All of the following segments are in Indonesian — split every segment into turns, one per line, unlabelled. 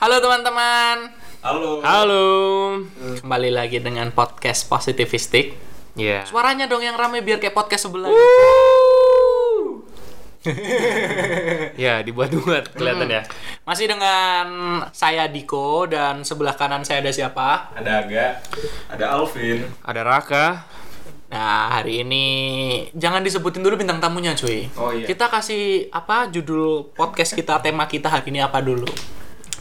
Halo teman-teman.
Halo.
Halo. Kembali lagi dengan podcast Positivistik.
Iya.
Suaranya dong yang rame biar kayak podcast sebelah.
Uh.
Ya, dibuat-buat kelihatan ya.
Masih dengan saya Diko dan sebelah kanan saya ada siapa?
Ada Aga, ada Alvin.
Ada Raka.
Nah, hari ini jangan disebutin dulu bintang tamunya, cuy.
Oh, iya.
Kita kasih apa judul podcast kita, tema kita hari ini apa dulu.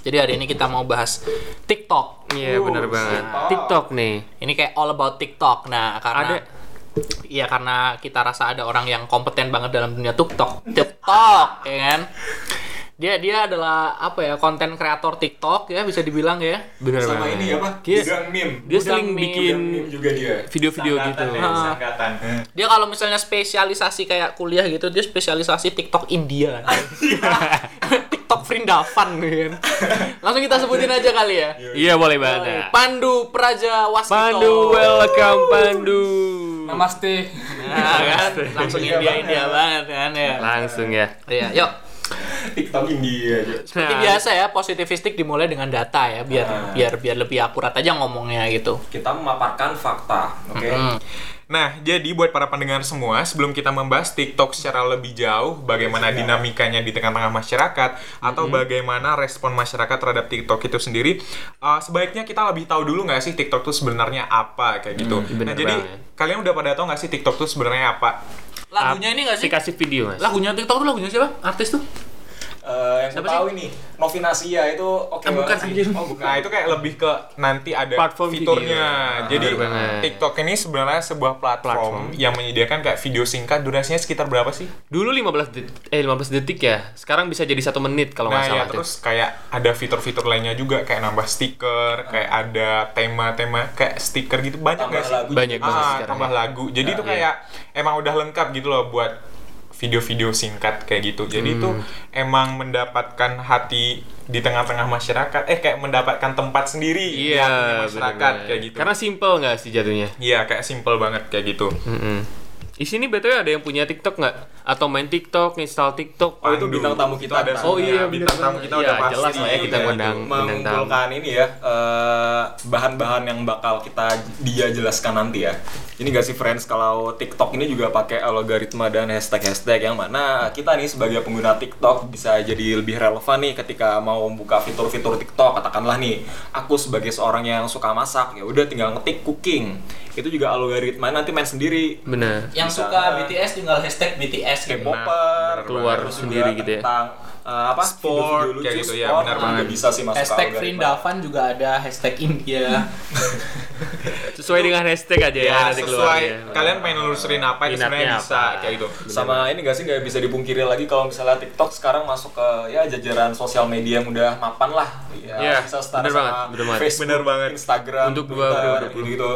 Jadi hari ini kita mau bahas TikTok.
Iya, benar banget. TikTok nih.
Ini kayak all about TikTok. Nah, karena
Ada-
Iya karena kita rasa ada orang yang kompeten banget dalam dunia TikTok. TikTok, ya kan? Dia dia adalah apa ya konten kreator TikTok ya bisa dibilang ya.
Benar
Sama
banget.
ini apa?
Yes.
Gang meme.
Dia
Udang
sering
meme.
bikin
Gang meme juga dia.
video-video gitu.
Sangkatan ya, sangkatan.
Dia kalau misalnya spesialisasi kayak kuliah gitu dia spesialisasi TikTok India. TikTok Vrindavan ya kan. Langsung kita sebutin aja kali ya.
Iya, boleh banget.
Pandu Praja Waskito.
Pandu, welcome Pandu.
Namaste.
Nah, kan? Langsung India India banget kan ya.
Langsung ya.
Iya, yuk.
TikTok India aja.
Seperti
Nah.
biasa ya, positivistik dimulai dengan data ya, biar biar biar lebih akurat aja ngomongnya gitu.
Kita memaparkan fakta, oke?
Nah, jadi buat para pendengar semua, sebelum kita membahas TikTok secara lebih jauh, bagaimana
Iya.
dinamikanya di tengah-tengah masyarakat, atau bagaimana respon masyarakat terhadap TikTok itu sendiri, eh, sebaiknya kita lebih tahu dulu nggak sih TikTok itu sebenarnya apa, kayak gitu. nah,
bener
jadi
banget.
kalian udah pada tahu nggak sih TikTok itu sebenarnya apa?
Lagunya ini nggak sih?
Kasih kasih video, Mas.
Lagunya TikTok tuh lagunya siapa? Artis tuh?
Eh, yang
Siapa
gue tahu ini, Novinasia itu oke
Ah, bukan,
banget sih.
anjir.
Oh, bukan.
Nah, itu kayak lebih ke nanti ada
Eh, Platform
fiturnya.
video. Ah,
Jadi
Bener banget.
TikTok ini sebenarnya sebuah platform,
Platform.
yang menyediakan kayak video singkat, durasinya sekitar berapa sih?
Dulu 15 detik, eh 15 detik ya. Sekarang bisa jadi satu menit kalau
Nah
nggak
ya
salah.
terus kayak ada fitur-fitur lainnya juga kayak nambah stiker, kayak ada tema-tema kayak stiker gitu banyak
Tambah
nggak sih?
lagu.
Banyak
Ah,
banget sekarang.
tambah
ya.
lagu. Jadi itu kayak emang udah lengkap gitu loh buat video-video singkat kayak gitu. Jadi itu
Hmm.
emang mendapatkan hati di tengah-tengah masyarakat. Eh kayak mendapatkan tempat sendiri di
Iya,
hatinya masyarakat
bener-bener.
kayak gitu.
Karena simple nggak sih jatuhnya?
Iya kayak simple banget kayak gitu.
Mm-mm. Di sini BTW ada yang punya TikTok nggak? Atau main TikTok, install TikTok?
Oh, itu
Pandu.
bintang tamu kita,
Itu ada
Bang.
semua.
Oh, iya,
bintang
bener
tamu
banget.
kita
Iya,
udah pasti.
jelas lah ya kita
Iya,
ngundang.
gitu.
mengumpulkan ini ya eh, bahan-bahan yang bakal kita dia jelaskan nanti ya. Ini gak sih friends kalau TikTok ini juga pakai algoritma dan hashtag-hashtag yang mana kita nih sebagai pengguna TikTok bisa jadi lebih relevan nih ketika mau membuka fitur-fitur TikTok katakanlah nih aku sebagai seorang yang suka masak ya udah tinggal ngetik cooking itu juga algoritma nanti main sendiri
Bener.
Yang
Bisa.
suka BTS tinggal hashtag BTS gitu.
K-popper
eh, keluar
terus juga
sendiri gitu ya.
tentang eh, apa
Sport,
video-video lucu,
kayak gitu ya,
sport,
benar
juga
banget.
bisa sih masuk
Hashtag
algoritma.
Vrindavan juga ada, hashtag India.
Sesuai dengan hashtag aja ya,
Ya,
nanti
sesuai
keluarnya.
kalian pengen nelusurin apa itu
Minatnya
sebenarnya bisa
apa.
kayak gitu.
sama ini gak sih nggak bisa dipungkiri lagi kalau misalnya TikTok sekarang masuk ke ya jajaran sosial media yang udah mapan lah ya
Iya,
bisa setara
bener
sama
banget, bener banget.
Facebook,
Bener banget.
Instagram,
Untuk
Twitter,
2020.
gitu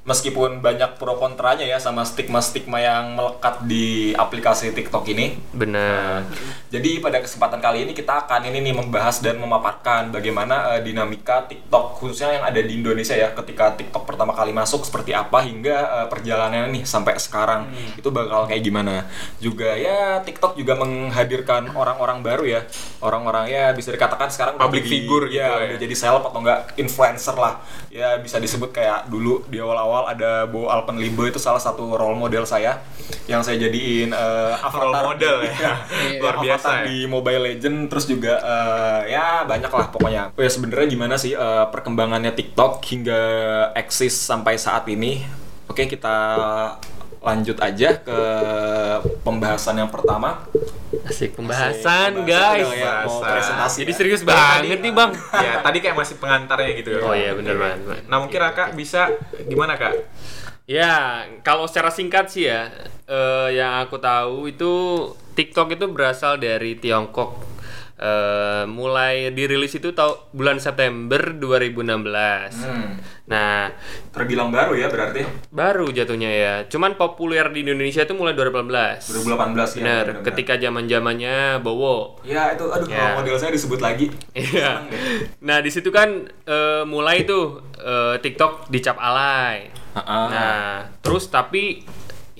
meskipun banyak pro kontranya ya sama stigma-stigma yang melekat di aplikasi TikTok ini
Bener.
jadi pada kesempatan kali ini kita akan ini nih membahas dan memaparkan bagaimana eh, dinamika TikTok khususnya yang ada di Indonesia ya ketika TikTok pertama kali masuk seperti apa hingga eh, perjalanannya nih sampai sekarang
Hmm.
itu bakal kayak gimana. Juga ya TikTok juga menghadirkan orang-orang baru ya. Orang-orang ya bisa dikatakan sekarang udah
Public
jadi-
figure gitu
ya,
ya.
udah jadi seleb atau enggak influencer lah. Ya bisa disebut kayak dulu di awal-awal ada Bo Alpenlibo itu salah satu role model saya yang saya jadiin eh,
Role
avatar Iya.
model ya. Luar
Avatar
biasa ya.
di Mobile Legend terus juga eh, ya banyak lah pokoknya. Oh ya sebenarnya gimana sih eh, perkembangannya TikTok hingga eksis sampai saat ini? Oke, kita lanjut aja ke pembahasan yang pertama.
Asik pembahasan,
Pembahasan
guys.
udah ya, mau
Pembahasan.
presentasi.
Jadi
ya.
serius banget nih, Bang.
ya, tadi kayak masih pengantarnya gitu ya.
Oh iya, bener banget. Bang.
Nah, mungkin Raka bisa gimana, Kak?
Ya, kalau secara singkat sih ya, eh, yang aku tahu itu TikTok itu berasal dari Tiongkok. Eh, mulai dirilis itu tahun bulan September 2016.
Hmm.
Nah,
Terbilang baru ya berarti
baru jatuhnya ya. Cuman populer di Indonesia itu mulai 2018.
2018
Bener,
ya. benar-benar.
ketika zaman-zamannya Bowo.
Ya itu aduh
Ya.
kalau model saya disebut lagi.
Iya. Nah, di situ kan eh, mulai tuh eh, TikTok dicap alay.
Ah.
Nah, terus tapi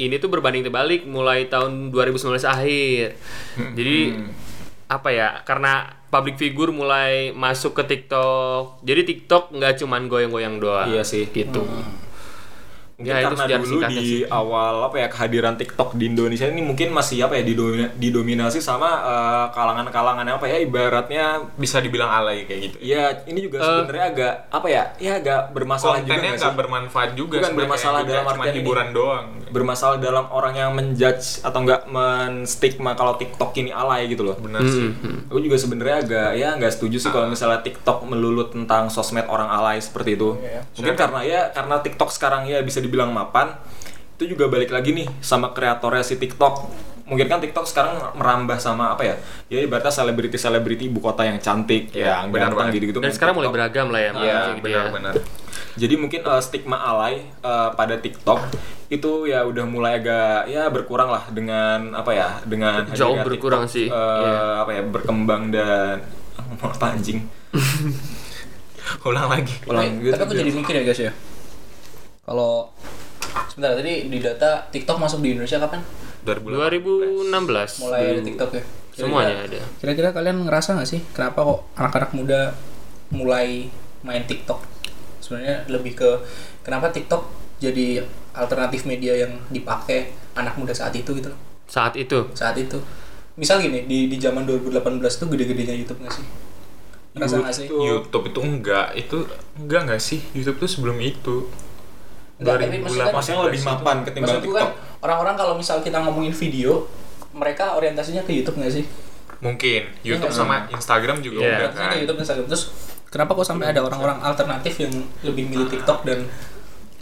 ini tuh berbanding terbalik mulai tahun 2019 akhir. Jadi apa ya karena public figure mulai masuk ke TikTok jadi TikTok nggak cuman goyang-goyang doang
Iya sih.
gitu
Mungkin
Ya, itu
karena
sejarah
dulu
singkatnya
di
sih.
awal apa ya kehadiran TikTok di Indonesia ini mungkin masih apa ya didomi- didominasi sama eh, kalangan-kalangan apa ya ibaratnya
bisa dibilang alay kayak gitu.
ya ini
Eh.
juga sebenarnya agak apa ya ya agak bermasalah juga
Kontennya
nggak
nggak
sih?
bermanfaat juga.
Bukan
sebenarnya,
bermasalah
kayak
dalam
cuma
artian ini.
hiburan doang.
bermasalah dalam orang yang menjudge atau enggak menstigma kalau TikTok ini alay gitu loh.
Benar sih.
Hmm,
Aku juga sebenarnya agak ya nggak setuju sih kalau misalnya TikTok melulu tentang sosmed orang alay seperti itu. Mungkin karena ya karena TikTok sekarang ya bisa dibilang mapan. Itu juga balik lagi nih sama kreatornya si TikTok. Mungkin kan TikTok sekarang merambah sama apa ya? Ya ibaratnya selebriti-selebriti ibu kota yang cantik,
Ya,
yang
benar
ganteng
banget.
gitu-gitu.
Iya, dan
Mungkin
sekarang mulai
TikTok-
beragam lah ya
Iya,
maksudnya gitu ya.
benar-benar.
jadi mungkin eh, stigma alay eh, pada TikTok itu ya udah mulai agak ya berkurang lah dengan apa ya dengan
Jauh
hadirnya
berkurang
TikTok,
sih, iya.
eh, apa ya berkembang dan mau apa anjing
Ulang lagi.
ulang
tapi aku jadi mikir ya guys ya kalau sebentar tadi di data TikTok masuk di Indonesia kapan
2016
mulai ada
dulu.
TikTok ya Kira-kira-
semuanya ada
kira-kira kalian ngerasa nggak sih kenapa kok anak-anak muda mulai main TikTok sebenarnya lebih ke kenapa TikTok jadi alternatif media yang dipakai anak muda saat itu gitu loh
saat itu
saat itu misal gini di di zaman 2018 tuh gede-gedenya YouTube nggak sih ngerasa nggak sih
YouTube itu enggak, itu enggak enggak sih? YouTube tuh sebelum itu.
Nggak, tapi maksudnya kan-
masih yang lebih mapan ketimbang
Maksud gue kan
TikTok
orang-orang kalau misal kita ngomongin video mereka orientasinya ke YouTube nggak sih?
Mungkin YouTube sama Instagram juga
Iya.
udah
Orientasinya
kan.
ke Iya. YouTube Instagram terus kenapa kok sampai ada orang-orang alternatif yang lebih milih TikTok dan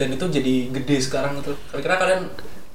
dan itu jadi gede sekarang itu? Kira-kira kalian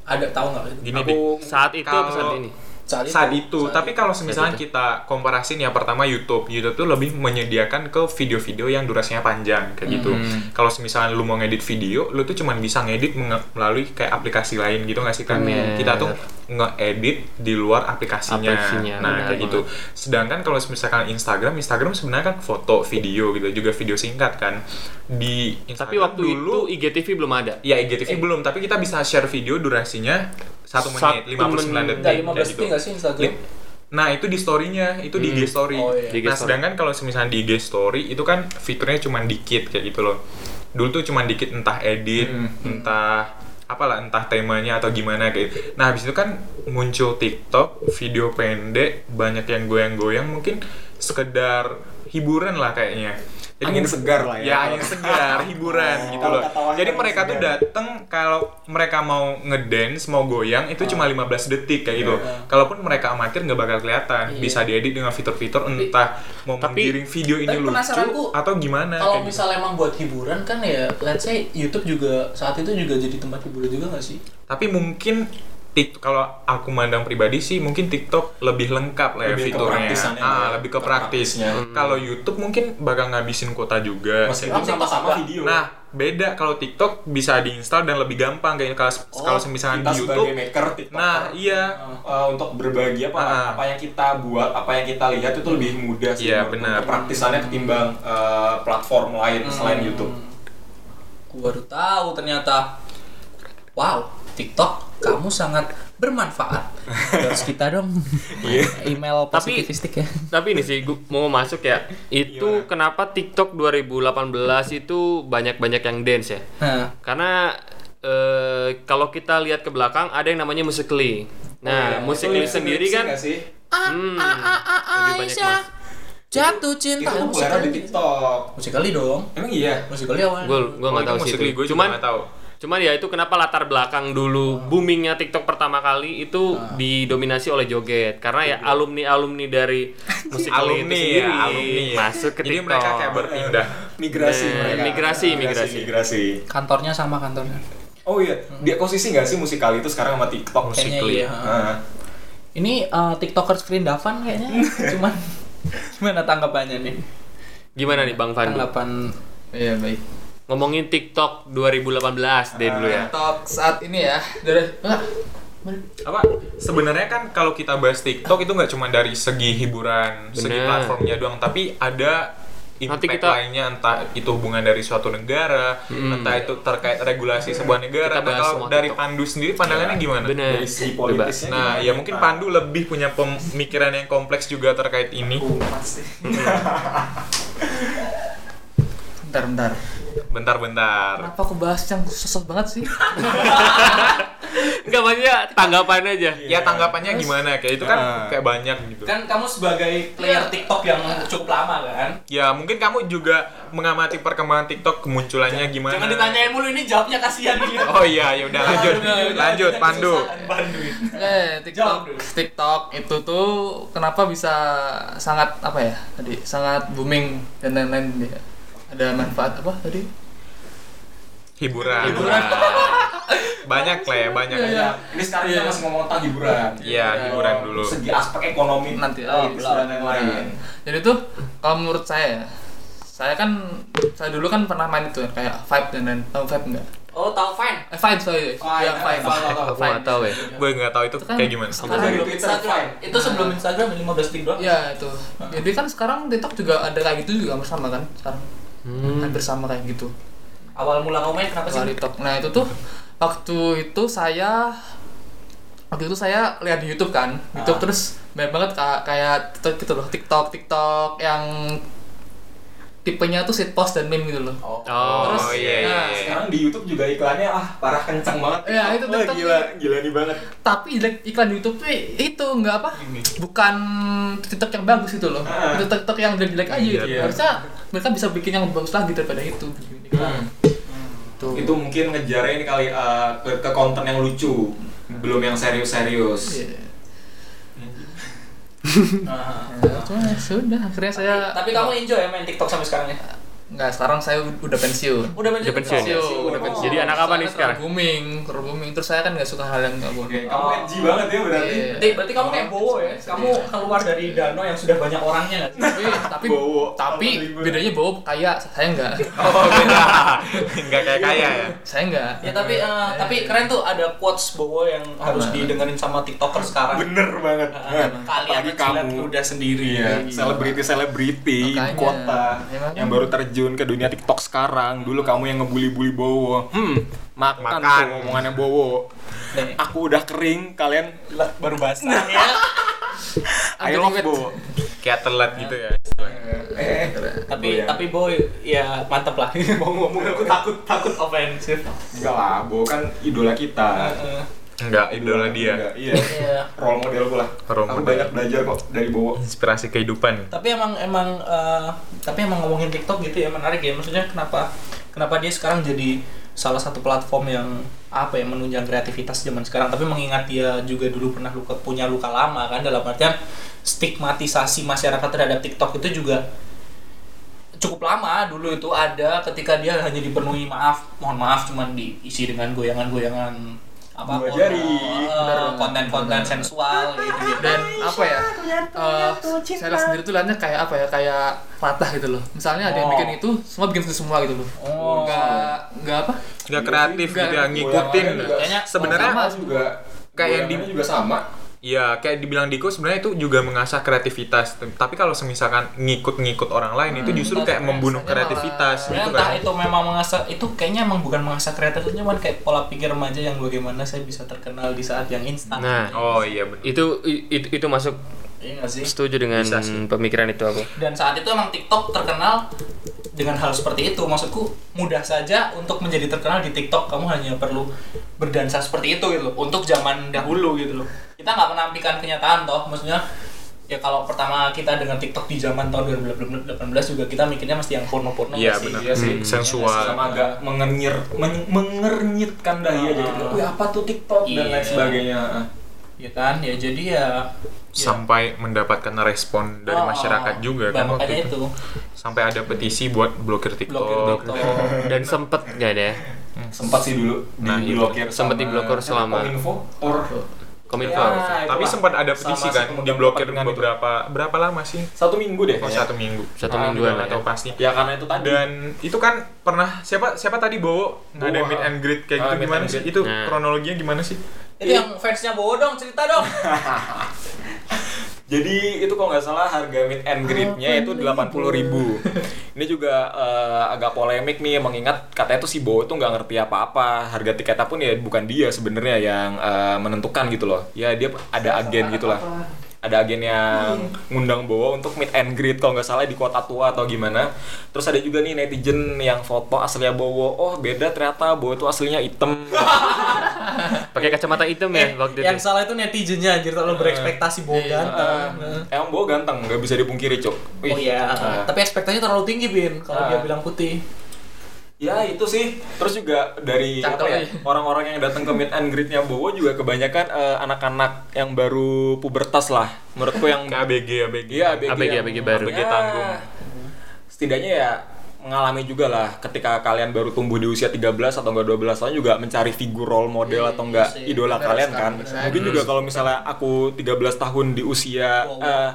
ada tahu nggak itu?
Gini deh.
Aku- saat itu apa saat
kalau-
ini
Saat itu.
saat itu.
saat
Tapi kalau misalnya kita komparasin ya pertama YouTube, YouTube tuh lebih menyediakan ke video-video yang durasinya panjang kayak gitu. Kalau misalnya lu mau ngedit video, lu tuh cuman bisa ngedit menge- melalui kayak aplikasi lain gitu nggak sih kan?
Bener.
Kita tuh ngedit di luar aplikasinya.
Aplikasinya,
nah
benar
kayak gitu. Sedangkan kalau misalkan Instagram, Instagram sebenarnya kan foto, video gitu, juga video singkat kan. Di Instagram
tapi waktu
dulu
itu IGTV belum ada
ya IGTV belum, tapi kita bisa share video durasinya satu
Satu
menit, 59
Nggak,
menit.
detik. kayak
15
gitu.
detik nggak sih Instagram?
Iya.
Li- Nah itu di story-nya, itu
Hmm.
di IG story.
Oh, iya.
Di IG
Nah
story.
sedangkan kalau misalnya di IG story itu kan fiturnya cuma dikit kayak gitu loh. Dulu tuh cuma dikit entah edit,
Hmm.
entah apalah entah temanya atau gimana kayak gitu. Nah habis itu kan muncul TikTok, video pendek, banyak yang goyang-goyang mungkin sekedar hiburan lah kayaknya. Jadi
Angin
mungkin-
segar lah ya.
Ya angin segar, hiburan gitu
Kalau
loh.
kata orang
Jadi
kan
mereka tuh
segar.
dateng kalau mereka mau ngedance, mau goyang itu cuma 15 detik kayak gitu. Kalaupun mereka amatir nggak bakal kelihatan. Bisa diedit dengan fitur-fitur entah mau
tapi-
menggiring video ini
tapi
lucu
penasaranku,
atau gimana
Kalau
kayak gitu.
misalnya emang buat hiburan kan ya, let's say YouTube juga saat itu juga jadi tempat hiburan juga nggak sih?
Tapi mungkin Tik- kalau aku mandang pribadi sih mungkin TikTok lebih lengkap lah ya
Lebih ke
fiturnya.
praktisannya
ah,
ya.
lebih ke
Ke
praktisnya. Kalau YouTube mungkin bakal ngabisin kuota juga.
meskipun
Tapi TikTok
sama-sama video
Nah, beda kalau TikTok bisa diinstal dan lebih gampang kayak kalau kalau misalnya
Oh, kita
di
sebagai
YouTube.
maker TikTok eh,
Nah, iya.
untuk berbagi apa
Ah.
apa yang kita buat apa yang kita lihat itu lebih mudah sih
Iya,
menurutku.
benar.
kepraktisannya ketimbang eh, platform lain selain YouTube
Aku baru tahu ternyata. Wow, TikTok kamu sangat bermanfaat. Harus kita dong. Email
Tapi-
positivistik ya.
tapi ini sih gua mau masuk ya itu kenapa TikTok 2018 itu banyak-banyak yang dance ya
Nah,
karena eh, kalau kita lihat ke belakang ada yang namanya musically
Oh, iya.
nah musically sendiri kan
Nggak sih?
hmm, lebih banyak mas
jatuh
itu
cinta
populer di TikTok
musikali dong.
emang iya
Musikali awalnya.
gue gue
Oh,
nggak tahu sih
Gue
itu.
cuma
cuman
nggak tahu. Ah.
cuman ya itu kenapa latar belakang dulu boomingnya TikTok pertama kali itu didominasi oleh joget karena ya alumni alumni dari musically itu
Alumni
sendiri
ya, alumni ya.
masuk ke
Jadi
TikTok
mereka kayak berpindah. Eh,
migrasi
Nah,
mereka
migrasi, migrasi.
migrasi
Kantornya sama kantornya.
oh iya dia kosisi nggak sih musikal itu sekarang sama TikTok
Kayaknya
Musically.
iya.
Ah.
Ini eh, tiktokers Green Davan kayaknya. Cuman gimana tanggapannya nih?
gimana nih bang Pandu
Tanggapan ya
Iya,
baik.
ngomongin TikTok 2018 deh dulu ya
TikTok saat ini ya. Dari
apa sebenarnya kan kalau kita bahas TikTok itu nggak cuma dari segi hiburan, segi
Bener.
platformnya doang, tapi ada impact
Nanti kita- Hmm.
lainnya entah itu hubungan dari suatu negara, entah itu terkait regulasi sebuah negara.
Kita
Nah,
bahas
kalau
semua
dari
TikTok.
Pandu sendiri pandangannya gimana?
Bener.
dari segi
Coba.
politisnya
Nah, ya mungkin Pandu lebih punya pemikiran yang kompleks juga terkait ini.
bentar bentar
Bentar-bentar.
kenapa aku bahas yang sosok banget sih
iya.
Enggak maksudnya tanggapannya aja.
Ya tanggapannya gimana? Kayak itu kan
Nah.
kayak banyak gitu.
Kan kamu sebagai player TikTok yang cukup lama kan?
Ya mungkin kamu juga mengamati perkembangan TikTok kemunculannya gimana?
Jangan ditanyain mulu ini jawabnya kasihan dia.
Oh iya, ya udah lanjut. lanjut Pandu.
Eh,
Jawab
TikTok,
dulu.
TikTok itu tuh kenapa bisa sangat apa ya tadi sangat booming dan lain-lain dia. Ada manfaat apa tadi?
Hiburan. banyak lah ya, banyak.
Iya, iya.
ini sekarang kita masih ngomong tentang hiburan Gitu.
Iya, hiburan dulu.
segi aspek ekonomi
Nanti,
oh,
nanti.
dan yang lain
Jadi tuh kalau menurut saya ya, saya kan saya dulu kan pernah main itu kayak Vibe dan lain tahu Vibe enggak?
Oh, tahu fine.
Eh Vibe sorry.
Fine,
Ya,
Fine,
Vibe.
tahu, tahu.
Aku nggak tahu ya.
Gue nggak tahu itu
Itu kan-
kayak gimana.
itu
Itu
kan-
sebelum Instagram. Itu sebelum Instagram 15 detik doang.
Iya, itu. Jadi kan sekarang TikTok juga ada kayak gitu juga bersama kan sekarang.
Hmm.
Hampir sama kayak gitu.
Awal mula kamu main kenapa sih?
Soal TikTok. Nah itu tuh waktu itu saya waktu itu saya lihat di YouTube kan,
Ah.
YouTube terus banyak banget ka- kayak TikTok gitu loh, TikTok TikTok yang tipenya tuh shitpost dan meme gitu loh.
oh.
Oh iya
Terus,
iya.
nah,
iya.
sekarang di YouTube juga iklannya ah parah kenceng banget
Iya, itu
Wah,
TikTok
gila gila nih banget
Tapi jelek- iklan di YouTube tuh itu nggak apa? Bukan TikTok yang bagus gitu loh.
Ah.
Itu TikTok yang jelek-jelek aja gitu.
Iya.
Harusnya mereka bisa bikin yang bagus lagi daripada itu. Tuh.
Hmm. itu mungkin ngejarnya ini kali eh, ke, ke konten yang lucu belum yang serius-serius
Iya.
Ah.
Ya, cuma ya sudah akhirnya saya
Tapi kamu enjoy ya main TikTok sampai sekarang ya?
nggak sekarang saya udah pensiun ya?
Udah main
Udah pensiun.
TikTok?
udah pensiun.
Jadi anak apa nih
Soalnya
sekarang?
terlalu booming terlalu booming terus saya kan nggak suka hal yang nggak
Oke,
booming
kamu
Oh.
edgy banget ya berarti
Iya.
Berarti, berarti kamu kayak Bowo ya? Kamu keluar dari danau yang sudah banyak orangnya nggak sih?
tapi tapi
Bowo.
tapi
Apa ribet.
bedanya bawa kaya saya nggak
Oh beda. Nggak kayak kaya ya.
saya nggak
Ya tapi eh, tapi keren tuh ada quotes Bowo yang harus didengerin sama TikToker sekarang.
bener banget
Ah, kalian
Apalagi
jilat
kamu.
udah sendiri
Iya, selebriti-selebriti
Makanya.
ibu kota
Ya, makanya.
yang baru terjun ke dunia TikTok sekarang. Dulu kamu yang ngebully-bully Bowo. Hmm,
Makan.
makan, tuh omongannya Bowo.
Nih.
Aku udah kering, kalian baru basah. I
Agak
love
ribet.
Bowo.
Kayak telat gitu ya.
tapi
Iya.
tapi boy ya mantep lah mau ngomong aku takut takut ofensif
Enggak lah, Bowo kan idola kita.
Heeh.
Enggak, idola dia.
Enggak, Iya. Role model gue lah.
Role
Aku
model.
banyak belajar kok dari Bowo.
Inspirasi kehidupan.
tapi emang emang eh, tapi emang ngomongin TikTok gitu ya menarik ya maksudnya kenapa kenapa dia sekarang jadi salah satu platform yang apa ya menunjang kreativitas zaman sekarang tapi mengingat dia juga dulu pernah luka, punya luka lama kan dalam artian stigmatisasi masyarakat terhadap TikTok itu juga cukup lama dulu itu ada ketika dia hanya dipenuhi maaf mohon maaf cuman diisi dengan goyangan-goyangan apa
Dua
porno,
jari.
eh, konten-konten sensual gitu gitu
dan apa ya eh, saya sendiri tuh liatnya kayak apa ya kayak latah gitu loh misalnya ada yang
Oh.
bikin itu semua bikin itu semua gitu loh
Oh.
nggak nggak apa
Nggak kreatif
Nggak.
gitu ya, ngikutin.
Kayaknya
Sebenarnya
sama
Aku juga
Kayak yang di-
goyangannya juga sama.
Ya, kayak dibilang Diko sebenarnya itu juga mengasah kreativitas. Tapi kalau semisalkan ngikut-ngikut orang lain itu justru kayak membunuh
Rasanya malah-
kreativitas
Ya,
gitu
entah
kan.
itu memang mengasah itu kayaknya emang bukan mengasah kreativitas cuman kayak pola pikir remaja yang bagaimana saya bisa terkenal di saat yang instan
Nah,
Oh iya benar.
itu i- itu, itu masuk
Iya nggak sih
setuju dengan
Bisa sih.
pemikiran itu aku.
dan saat itu emang TikTok terkenal dengan hal seperti itu maksudku mudah saja untuk menjadi terkenal di TikTok kamu hanya perlu berdansa seperti itu gitu loh untuk zaman dahulu gitu loh kita nggak menampilkan kenyataan toh maksudnya ya kalau pertama kita dengan TikTok di zaman tahun 2018 juga kita mikirnya mesti yang porno-porno
Iya
nggak sih?
benar.
Iya sih.
Hmm, sensual.
sama agak mengenyir men- mengernyitkan dahi aja gitu. Wih, apa tuh TikTok dan
Ah.
lain
Iya.
sebagainya. Ah.
ya kan ya jadi ya
Sampai mendapatkan respon dari
Oh,
masyarakat juga
bah,
kan waktu
makanya
itu. Oh.
itu
Sampai ada petisi buat blokir
blokir
TikTok.
TikTok
Dan sempet nggak ada ya?
sempat sih dulu
Nah,
di
iya.
blokir
Sempat diblokir selama-
info or
Kominfo.
Ya,
harusnya.
itulah.
Tapi sempat ada petisi
Sama si
kan
pemegang
diblokir
kepentingan itu.
beberapa berapa lama sih?
satu minggu deh
Oh,
kayaknya.
satu minggu.
Satu
Ah,
mingguan
nggak
lah ya.
tahu pasti.
ya karena itu tadi
Dan itu kan pernah siapa siapa tadi Bowo ngadain
Bowo,
meet
ah.
and greet kayak
Ah,
gitu
meet
gimana
and
sih?
greet.
Itu
Nah.
kronologinya gimana sih?
itu yang fansnya bodoh dong cerita dong
Jadi itu kalau nggak salah harga meet and greet-nya itu 80.000 Ini juga eh, agak polemik nih mengingat katanya tuh si Bowo tuh nggak ngerti apa-apa. Harga tiketnya pun ya bukan dia sebenarnya yang eh, menentukan gitu loh. Ya dia ada agen gitu lah. Ada agen yang ngundang Bowo untuk meet and greet kalau nggak salah di kota tua atau gimana. Terus ada juga nih netizen yang foto aslinya Bowo. Oh beda ternyata Bowo tuh aslinya item.
Pakai kacamata hitam ya waktu
Eh, yang
itu.
salah itu netizennya anjir
Ah.
terlalu berekspektasi
Iya,
bohong ganteng.
Emang Bowo ganteng, nggak bisa dipungkiri Nah. cok.
Oh iya,
Ah.
tapi ekspektasinya terlalu tinggi Bin kalau dia
Ah.
bilang putih.
Ya itu sih. Terus juga dari
Cakep
apa ya,
aja.
orang-orang yang datang ke meet and greet-nya Bowo juga kebanyakan eh, anak-anak yang baru pubertas lah. Menurutku yang
Ke ABG, ABG.
Iya, ABG,
ABG,
yang-
ABG baru.
Ya.
ABG tanggung.
Setidaknya ya mengalami juga lah ketika kalian baru tumbuh di usia 13 atau enggak 12 tahun juga mencari figur role model atau enggak
Iya, sih.
idola
Benar
kalian
sekali,
kan.
benar.
Mungkin juga kalau misalnya aku 13 tahun di usia eh,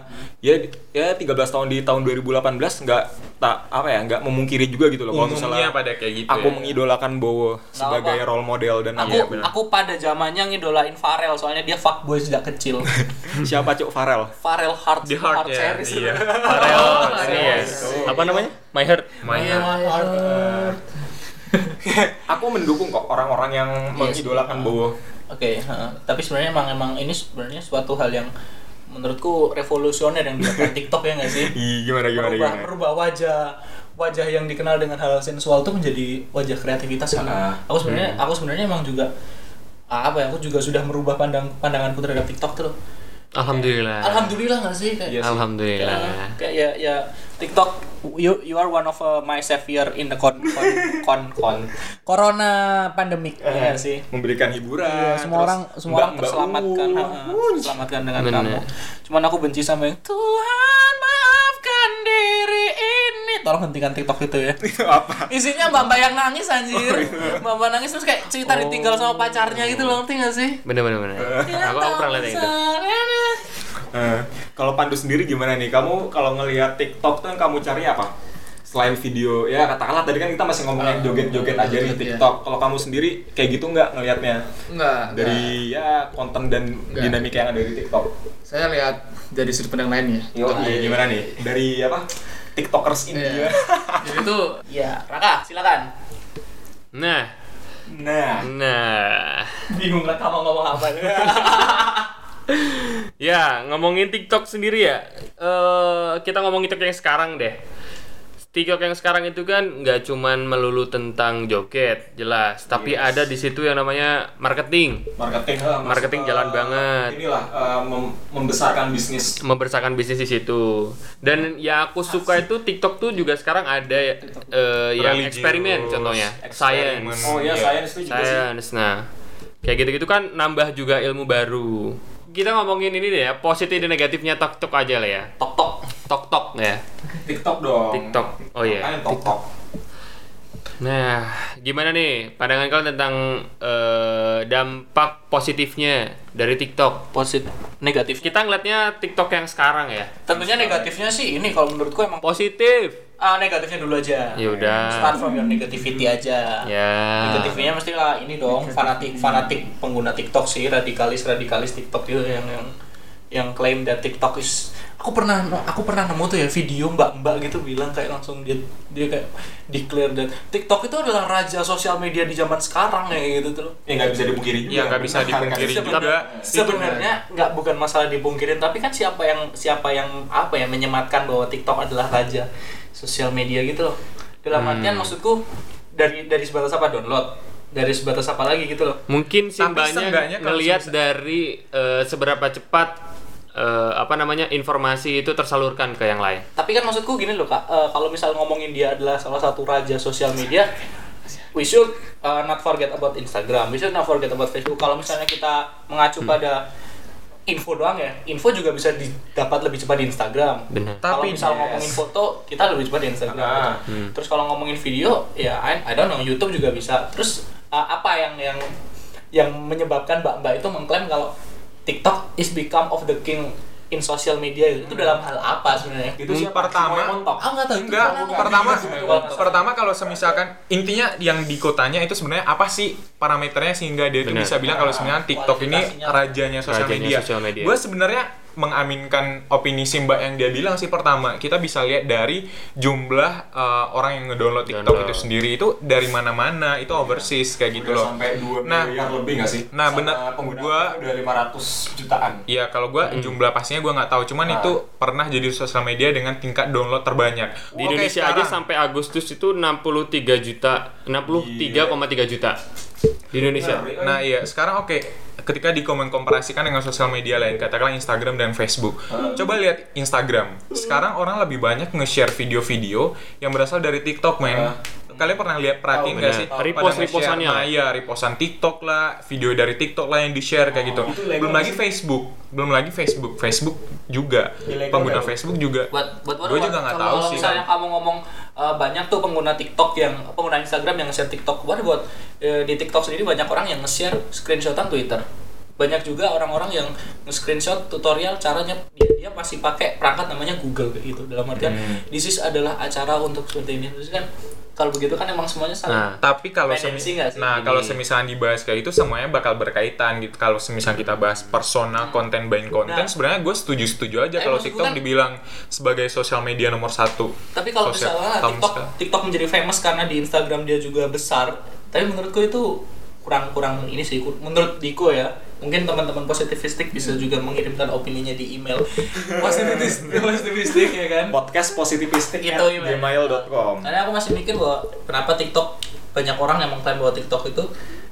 ya ya 13 tahun di tahun 2018 enggak tak apa ya enggak memungkiri juga gitu loh kalau
Umumnya
misalnya
pada kayak gitu.
aku
ya.
mengidolakan Bowo sebagai role model dan
Iya,
Aku
aku
aku pada zamannya ngidolain Farel soalnya dia fuckboy sejak kecil.
siapa Cuk Farel?
Farel hard
di hard ya.
series.
Iya.
Farel ini ya. Apa namanya? My Heart.
Mainnya.
ya.
Aku mendukung kok orang-orang yang mengidolakan Bowo.
Oke, heeh. tapi sebenarnya emang emang ini sebenarnya suatu hal yang menurutku revolusioner yang dilakukan TikTok ya nggak sih?
Ih, gimana gimana
Merubah,
gimana.
merubah wajah wajah yang dikenal dengan hal sensual itu menjadi wajah kreativitas kan.
Ah.
Aku sebenarnya aku sebenarnya emang juga ah, apa ya? Aku juga sudah merubah pandang pandanganku terhadap TikTok tuh. loh.
Alhamdulillah.
Alhamdulillah nggak sih kayak
Ah. Iya sih.
Alhamdulillah.
Ya, kayak ya ya TikTok you you are one of uh, my savior in the con con con, con. corona pandemic
Ah.
ya sih.
Memberikan hiburan.
Iya, semua orang semua orang terselamatkan, ha, ha, terselamatkan dengan
Bener.
kamu. Cuman aku benci sama yang Tuhan maafkan diri ini. Tolong hentikan TikTok itu ya.
apa?
Isinya mbak-mbak yang nangis anjir. Mbak-mbak nangis terus kayak cerita ditinggal sama pacarnya gitu loh, ngerti gak sih?
Bener bener bener. Aku aku pernah lihat gitu. yang itu.
Eh, kalau Pandu sendiri gimana nih? Kamu kalau ngelihat TikTok tuh yang kamu cari apa? Selain video, ya katakanlah tadi kan kita masih ngomongin joget-joget aja nih
joget,
TikTok. Kalau kamu sendiri kayak gitu nggak ngelihatnya
Enggak. enggak.
dari ya konten dan
Nggak.
dinamika yang ada di TikTok?
saya lihat dari sudut pandang lainnya.
Yo, iya, gimana nih? Dari apa? TikTokers India.
Iya. Jadi itu
Iya, Raka, silakan.
Nah,
nah,
nah.
Bingung Raka mau ngomong apa.
Ya, ngomongin TikTok sendiri ya. Eh, kita ngomongin TikTok yang sekarang deh. TikTok yang sekarang itu kan nggak cuman melulu tentang joget, jelas. Tapi ada di situ yang namanya marketing.
marketing eh, maksud,
Marketing jalan
eh,
banget.
Inilah eh, mem- membesarkan bisnis.
membesarkan bisnis di situ. Dan yang aku suka itu TikTok tuh juga sekarang ada eh, yang
Religious,
eksperimen contohnya,
eksperimen.
science,
Oh ya,
Iya.
saya itu juga sih.
science. Nah, kayak gitu-gitu kan nambah juga ilmu baru. Kita ngomongin ini deh ya, positif dan negatifnya TikTok aja lah ya.
Tok tok.
TikTok ya.
TikTok dong.
TikTok. Oh
Kan
iya.
TikTok.
Nah, gimana nih pandangan kalian tentang eh, dampak positifnya dari TikTok?
Positif negatif.
Kita ngeliatnya TikTok yang sekarang ya.
Tentunya negatifnya sih ini kalau menurutku emang
Positif.
ah, negatifnya dulu aja.
Ya udah.
Start from your negativity aja.
Ya.
Negatifnya mesti lah ini dong fanatik fanatik pengguna TikTok sih radikalis radikalis TikTok itu yang yang yang klaim dan TikTok is aku pernah aku pernah nemu tuh ya video mbak-mbak gitu bilang kayak langsung dia dia kayak declare dan TikTok itu adalah raja sosial media di zaman sekarang ya gitu tuh
Ya nggak bisa dipungkiri juga.
Iya, nggak bisa
Benar, nggak
dipungkiri
bisa.
juga.
sebenarnya nggak bukan masalah dipungkirin tapi kan siapa yang siapa yang apa ya menyematkan bahwa TikTok adalah raja sosial media gitu loh dalam
Hmm.
artian maksudku dari dari sebatas apa download dari sebatas apa lagi gitu loh
Mungkin sih
Tapi
banyak
seenggaknya kalau
ngelihat dari eh, seberapa cepat eh, apa namanya informasi itu tersalurkan ke yang lain.
tapi kan maksudku gini loh kak eh, kalau misal ngomongin dia adalah salah satu raja sosial media we should eh, not forget about Instagram we should not forget about Facebook kalau misalnya kita mengacu pada info doang ya info juga bisa didapat lebih cepat di Instagram
Benar.
kalau
Tapi,
misal ngomongin foto kita lebih cepat di Instagram
Ah.
terus kalau ngomongin video ya I, I don't know YouTube juga bisa terus uh, apa yang yang yang menyebabkan mbak-mbak itu mengklaim kalau TikTok is become of the king in social media itu dalam hal apa sebenarnya
Itu
Hmm,
siapa?
pertama-
Simon Montok.
Ah nggak tahu itu
Enggak,
bukan aku.
pertama
Bukan.
pertama kalau semisalkan intinya yang di kotanya itu sebenarnya apa sih parameternya sehingga dia itu
Benar.
bisa bilang kalau sebenarnya TikTok ini
Kualifikasinya.
rajanya sosial
Rajanya
media.
sosial media.
Gue sebenarnya mengaminkan opini Simba yang dia bilang sih pertama kita bisa lihat dari jumlah eh, orang yang ngedownload TikTok
Download.
itu sendiri itu dari mana-mana itu overseas kayak gitu
Udah
loh.
sampai 2
Nah,
miliar lebih nggak sih?
nah,
Sama
bener.
pengguna
Gua-
udah 500 jutaan.
Iya, kalau gua
Hmm.
jumlah pastinya gua nggak tahu, cuman
Ah.
itu pernah jadi sosial media dengan tingkat download terbanyak.
Di
Oke,
Indonesia aja
sekarang.
sampai Agustus itu 63 juta, 63,3 juta di Indonesia.
Nah iya, sekarang oke. Ketika dikomen komparasikan dengan sosial media lain, katakanlah Instagram dan Facebook. Coba lihat Instagram. Sekarang orang lebih banyak nge-share video-video yang berasal dari TikTok, men. Kalian pernah lihat
Tahu,
perhatiin nggak
benar.
sih?
Tahu.
Pada nge-share,
Repost-repostannya.
Nah iya, repostan TikTok lah, video dari TikTok lah yang di-share kayak gitu.
itu legal
Belum
nggak
lagi Facebook, belum lagi Facebook. Facebook juga.
Ilegal
Pengguna
nggak?
Facebook juga.
buat buat
Gua juga nggak
kalau-
tahu
kalau
sih.
misalnya kamu ngomong eh, banyak tuh pengguna TikTok yang pengguna Instagram yang nge-share TikTok buat buat eh, di TikTok sendiri banyak orang yang nge-share screenshotan Twitter banyak juga orang-orang yang nge-screenshot tutorial caranya dia, dia masih pakai perangkat namanya Google kayak gitu dalam artian
Hmm.
this is adalah acara untuk seperti ini terus kan kalau begitu kan emang semuanya
Nah,
saling
tapi kalau
Main
semis-
MC nggak sih?
nah
Ini.
kalau semisalnya dibahas kayak itu semuanya bakal berkaitan gitu kalau semisal kita bahas persona konten buying konten
Hmm. Nah.
sebenarnya gue setuju setuju
Eh,
aja kalau
maksud gua
TikTok
kan-
dibilang sebagai sosial media nomor satu
tapi kalau
Sosial-
misalnya
tahun
TikTok
sekarang.
TikTok menjadi famous karena di Instagram dia juga besar tapi menurutku itu kurang-kurang ini sih kur- menurut Diko ya mungkin teman-teman positivistik bisa
Hmm.
juga mengirimkan opininya di email positivis positivistik ya kan
Podcast positivistik
Itu
at
email.
gmail.com.
karena aku masih mikir bahwa kenapa TikTok banyak orang yang mengklaim bahwa TikTok itu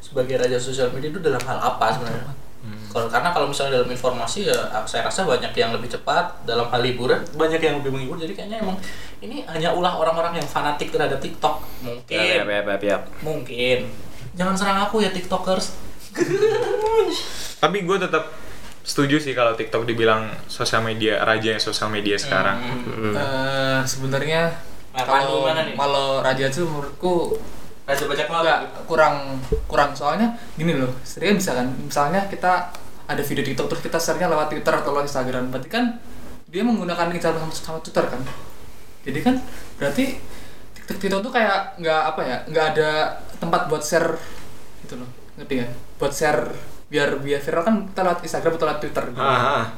sebagai raja sosial media itu dalam hal apa sebenarnya
Hmm.
kalau karena kalau misalnya dalam informasi ya saya rasa banyak yang lebih cepat dalam hal liburan banyak yang lebih menghibur jadi kayaknya emang ini hanya ulah orang-orang yang fanatik terhadap TikTok mungkin
Iya,
mungkin jangan serang aku ya tiktokers
tapi gue tetap setuju sih kalau TikTok dibilang sosial media raja yang sosial media sekarang
Hmm.
Eh, sebenarnya
Nah, Pandu
kalau
mana nih?
kalau raja itu menurutku
raja bajak laut
enggak kurang kurang soalnya gini loh sebenarnya bisa kan misalnya kita ada video TikTok terus kita share-nya lewat Twitter atau lewat Instagram berarti kan dia menggunakan Instagram sama, sama Twitter kan jadi kan berarti TikTok TikTok tuh kayak nggak apa ya nggak ada tempat buat share gitu loh ngerti kan buat share biar biar viral kan kita lewat Instagram atau lewat Twitter gitu,
Ah,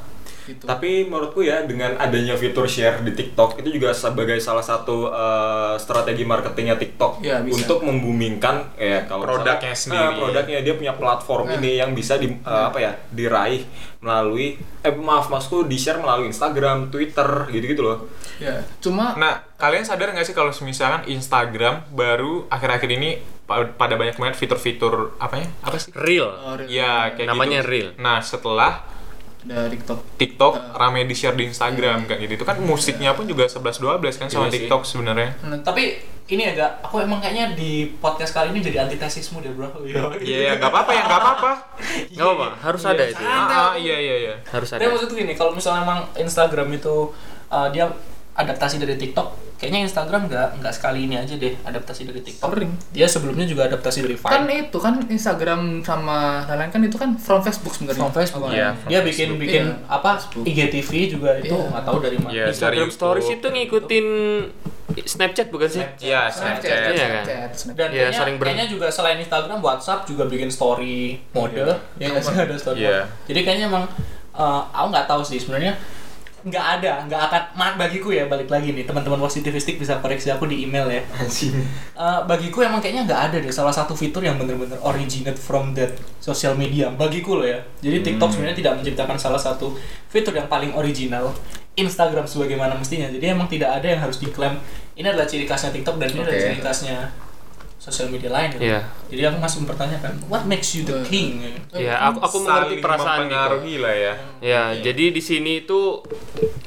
Gitu.
Tapi menurutku ya dengan adanya fitur share di TikTok itu juga sebagai salah satu eh, strategi marketingnya TikTok
Iya, bisa.
untuk membumingkan ya kalau
Produknya
misalnya-
sendiri.
Ah, produknya dia punya platform
Iya.
ini yang bisa di eh, apa ya diraih melalui eh maaf maksudku di share melalui Instagram, Twitter gitu-gitu loh.
ya cuma
nah kalian sadar nggak sih kalau misalkan Instagram baru akhir-akhir ini pa- pada banyak banget fitur-fitur apa ya apa sih
Real.
eh,
ya kayak
Namanya
gitu.
Reel.
nah setelah
ada TikTok
TikTok rame di share di Instagram kayak gitu. Itu kan musiknya pun juga 11 12 kan sama
Iya sih.
TikTok sebenarnya.
tapi ini agak aku emang kayaknya di podcast kali ini jadi antitesismu deh bro
Iya, nggak apa-apa ya, nggak apa-apa.
Nggak apa-apa, harus ada itu.
Ah, ah, iya iya iya.
Harus ada.
Tapi maksudku gini, kalau misalnya emang Instagram itu uh, dia adaptasi dari TikTok, kayaknya Instagram nggak nggak sekali ini aja deh adaptasi dari TikTok.
Sering.
Dia sebelumnya juga adaptasi dari Vine.
kan itu kan Instagram sama lain-lain kan itu kan from Facebook sebenarnya
From Facebook.
Awalnya.
dia bikin bikin
Iya.
apa IGTV juga itu
Iya.
nggak tahu dari mana.
Iya, dari
Instagram
YouTube.
Stories itu ngikutin Snapchat bukan sih?
Iya,
Snapchat,
Snapchat.
Iya kan?
Snapchat, Snapchat.
Dan
Iya,
kayaknya,
sering ber-
kayaknya juga selain Instagram, WhatsApp juga bikin story mode. Ya nggak sih ada story
Iya.
mode. Jadi kayaknya emang eh, aku nggak tahu sih sebenarnya nggak ada, nggak akan ma- bagiku ya balik lagi nih teman-teman positivistik bisa koreksi aku di email ya. Eh, bagiku emang kayaknya nggak ada deh salah satu fitur yang bener-bener originate from that social media bagiku loh ya jadi TikTok sebenarnya tidak menciptakan salah satu fitur yang paling original Instagram sebagaimana mestinya jadi emang tidak ada yang harus diklaim ini adalah ciri khasnya TikTok dan ini adalah ciri khasnya sosial media lain gitu.
Iya.
jadi aku masih mempertanyakan what makes you the king gitu.
Ya, aku aku mengerti
Saling
perasaan Diko.
mempengaruhi lah ya.
Ya, jadi di sini itu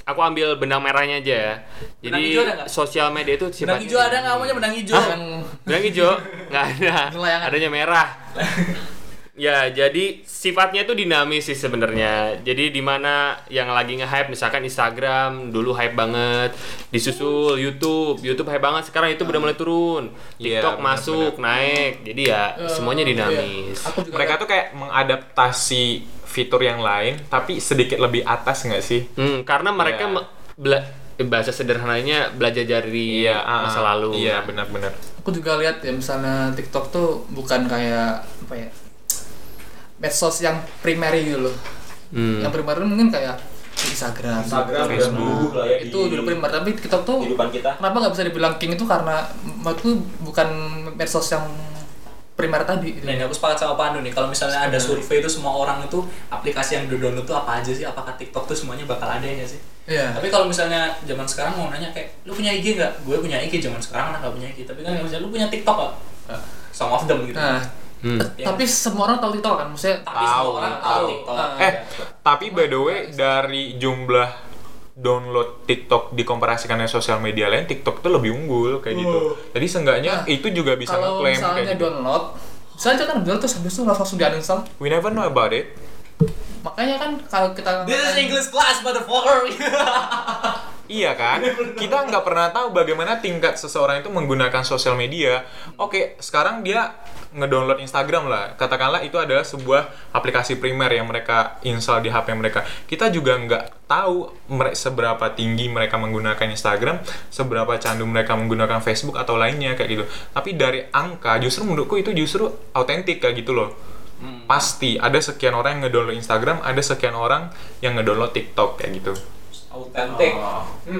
aku ambil benang merahnya aja ya.
Benang
Jadi
hijau ada nggak?
sosial media itu
benang
sifatnya
hijau ada nggak kamu punya benang hijau
yang
Benang hijau gitu, nggak ada.
Layangan.
Adanya merah. Ya, jadi sifatnya itu dinamis sih sebenarnya. Jadi di mana yang lagi nge-hype misalkan Instagram dulu hype banget, disusul YouTube. YouTube hype banget, sekarang itu udah mulai turun.
Iya,
TikTok
benar-benar.
masuk, naik. Jadi ya semuanya dinamis.
Eh, Iya. Aku juga
Mereka tuh kayak mengadaptasi fitur yang lain tapi sedikit lebih atas nggak sih?
Hmm, karena mereka
Iya.
me- bela- eh, bahasa sederhananya belajar dari
ah,
masa lalu.
Iya, benar-benar.
aku juga lihat ya misalnya TikTok tuh bukan kayak apa ya medsos yang primary gitu loh
Hmm.
yang primary mungkin kayak Instagram.
Instagram udah
Facebook.
menunggu lah ya
Itu
di
udah primer, tapi TikTok tuh
kehidupan kita.
kenapa nggak bisa dibilang king itu karena menurutku bukan medsos yang primer tadi. gitu.
Iya.
Dan Nah, aku sepakat sama Pandu nih, kalau misalnya ada survei itu semua orang itu aplikasi yang di-download tuh apa aja sih? Apakah TikTok tuh semuanya bakal ada ya nggak sih?
Iya.
Tapi kalau misalnya zaman sekarang mau nanya kayak, lu punya IG nggak? Gue punya IG zaman sekarang anak nggak punya IG. Tapi kan kalau misalnya lu punya TikTok nggak? Some of them gitu.
Nah,
Hmm.
Ya.
tapi semua orang tahu TikTok kan, maksudnya
Tapi semua
Tahu,
orang tahu
tahu.
TikTok.
Ah.
Eh, tapi by the way dari jumlah download TikTok dikomparasikan dengan sosial media lain, TikTok tuh lebih unggul kayak gitu. Jadi seenggaknya
Oh. Nah,
itu juga bisa
kalau
ngeklaim kayak
misalnya
gitu.
download, bisa aja kan download terus habis itu langsung di uninstall.
We never know about it.
Makanya kan kalau kita
This is English class, motherfucker.
Iya kan? Kita nggak pernah tahu bagaimana tingkat seseorang itu menggunakan sosial media. Oke, sekarang dia ngedownload Instagram lah. Katakanlah itu adalah sebuah aplikasi primer yang mereka install di HP mereka. Kita juga nggak tahu mere- seberapa tinggi mereka menggunakan Instagram, seberapa candu mereka menggunakan Facebook atau lainnya kayak gitu. Tapi dari angka justru menurutku itu justru autentik kayak gitu loh. Pasti ada sekian orang yang ngedownload Instagram, ada sekian orang yang ngedownload TikTok kayak gitu.
Authentic.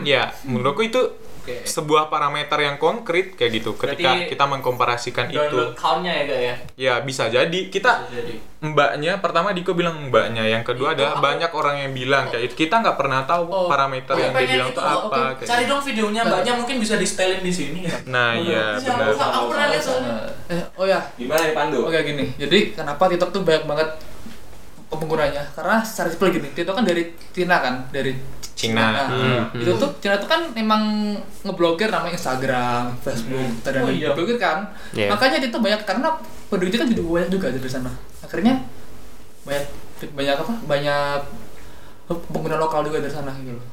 Ya, menurutku itu
Oke.
sebuah parameter yang konkret kayak gitu. Ketika
Berarti
kita mengkomparasikan
Download
itu,
count-nya ya, Kak ya.
ya bisa jadi kita
Jadi.
mbaknya pertama Diko bilang mbaknya, yang kedua adalah banyak orang yang bilang kayak itu. Kita nggak pernah tahu parameter yang dia bilang itu apa. kayak
Oh, Cari
gitu.
dong videonya mbaknya mungkin bisa di setelin di sini ya.
Nah, iya
Bisa,
benar.
aku- Aku pernah lihat soalnya.
eh, oh ya,
Gimana nih Pandu?
Oke gini, jadi kenapa TikTok tuh banyak banget penggunanya? Karena secara simple gini, TikTok kan dari Cina kan, dari
Cina.
Nah, Itu tuh Cina tuh kan memang ngeblokir nama Instagram, Facebook, dan lain diblokir kan.
Iya.
Makanya TikTok banyak karena penduduknya kan juga banyak juga dari sana. Akhirnya banyak banyak apa? Banyak pengguna lokal juga dari sana gitu loh.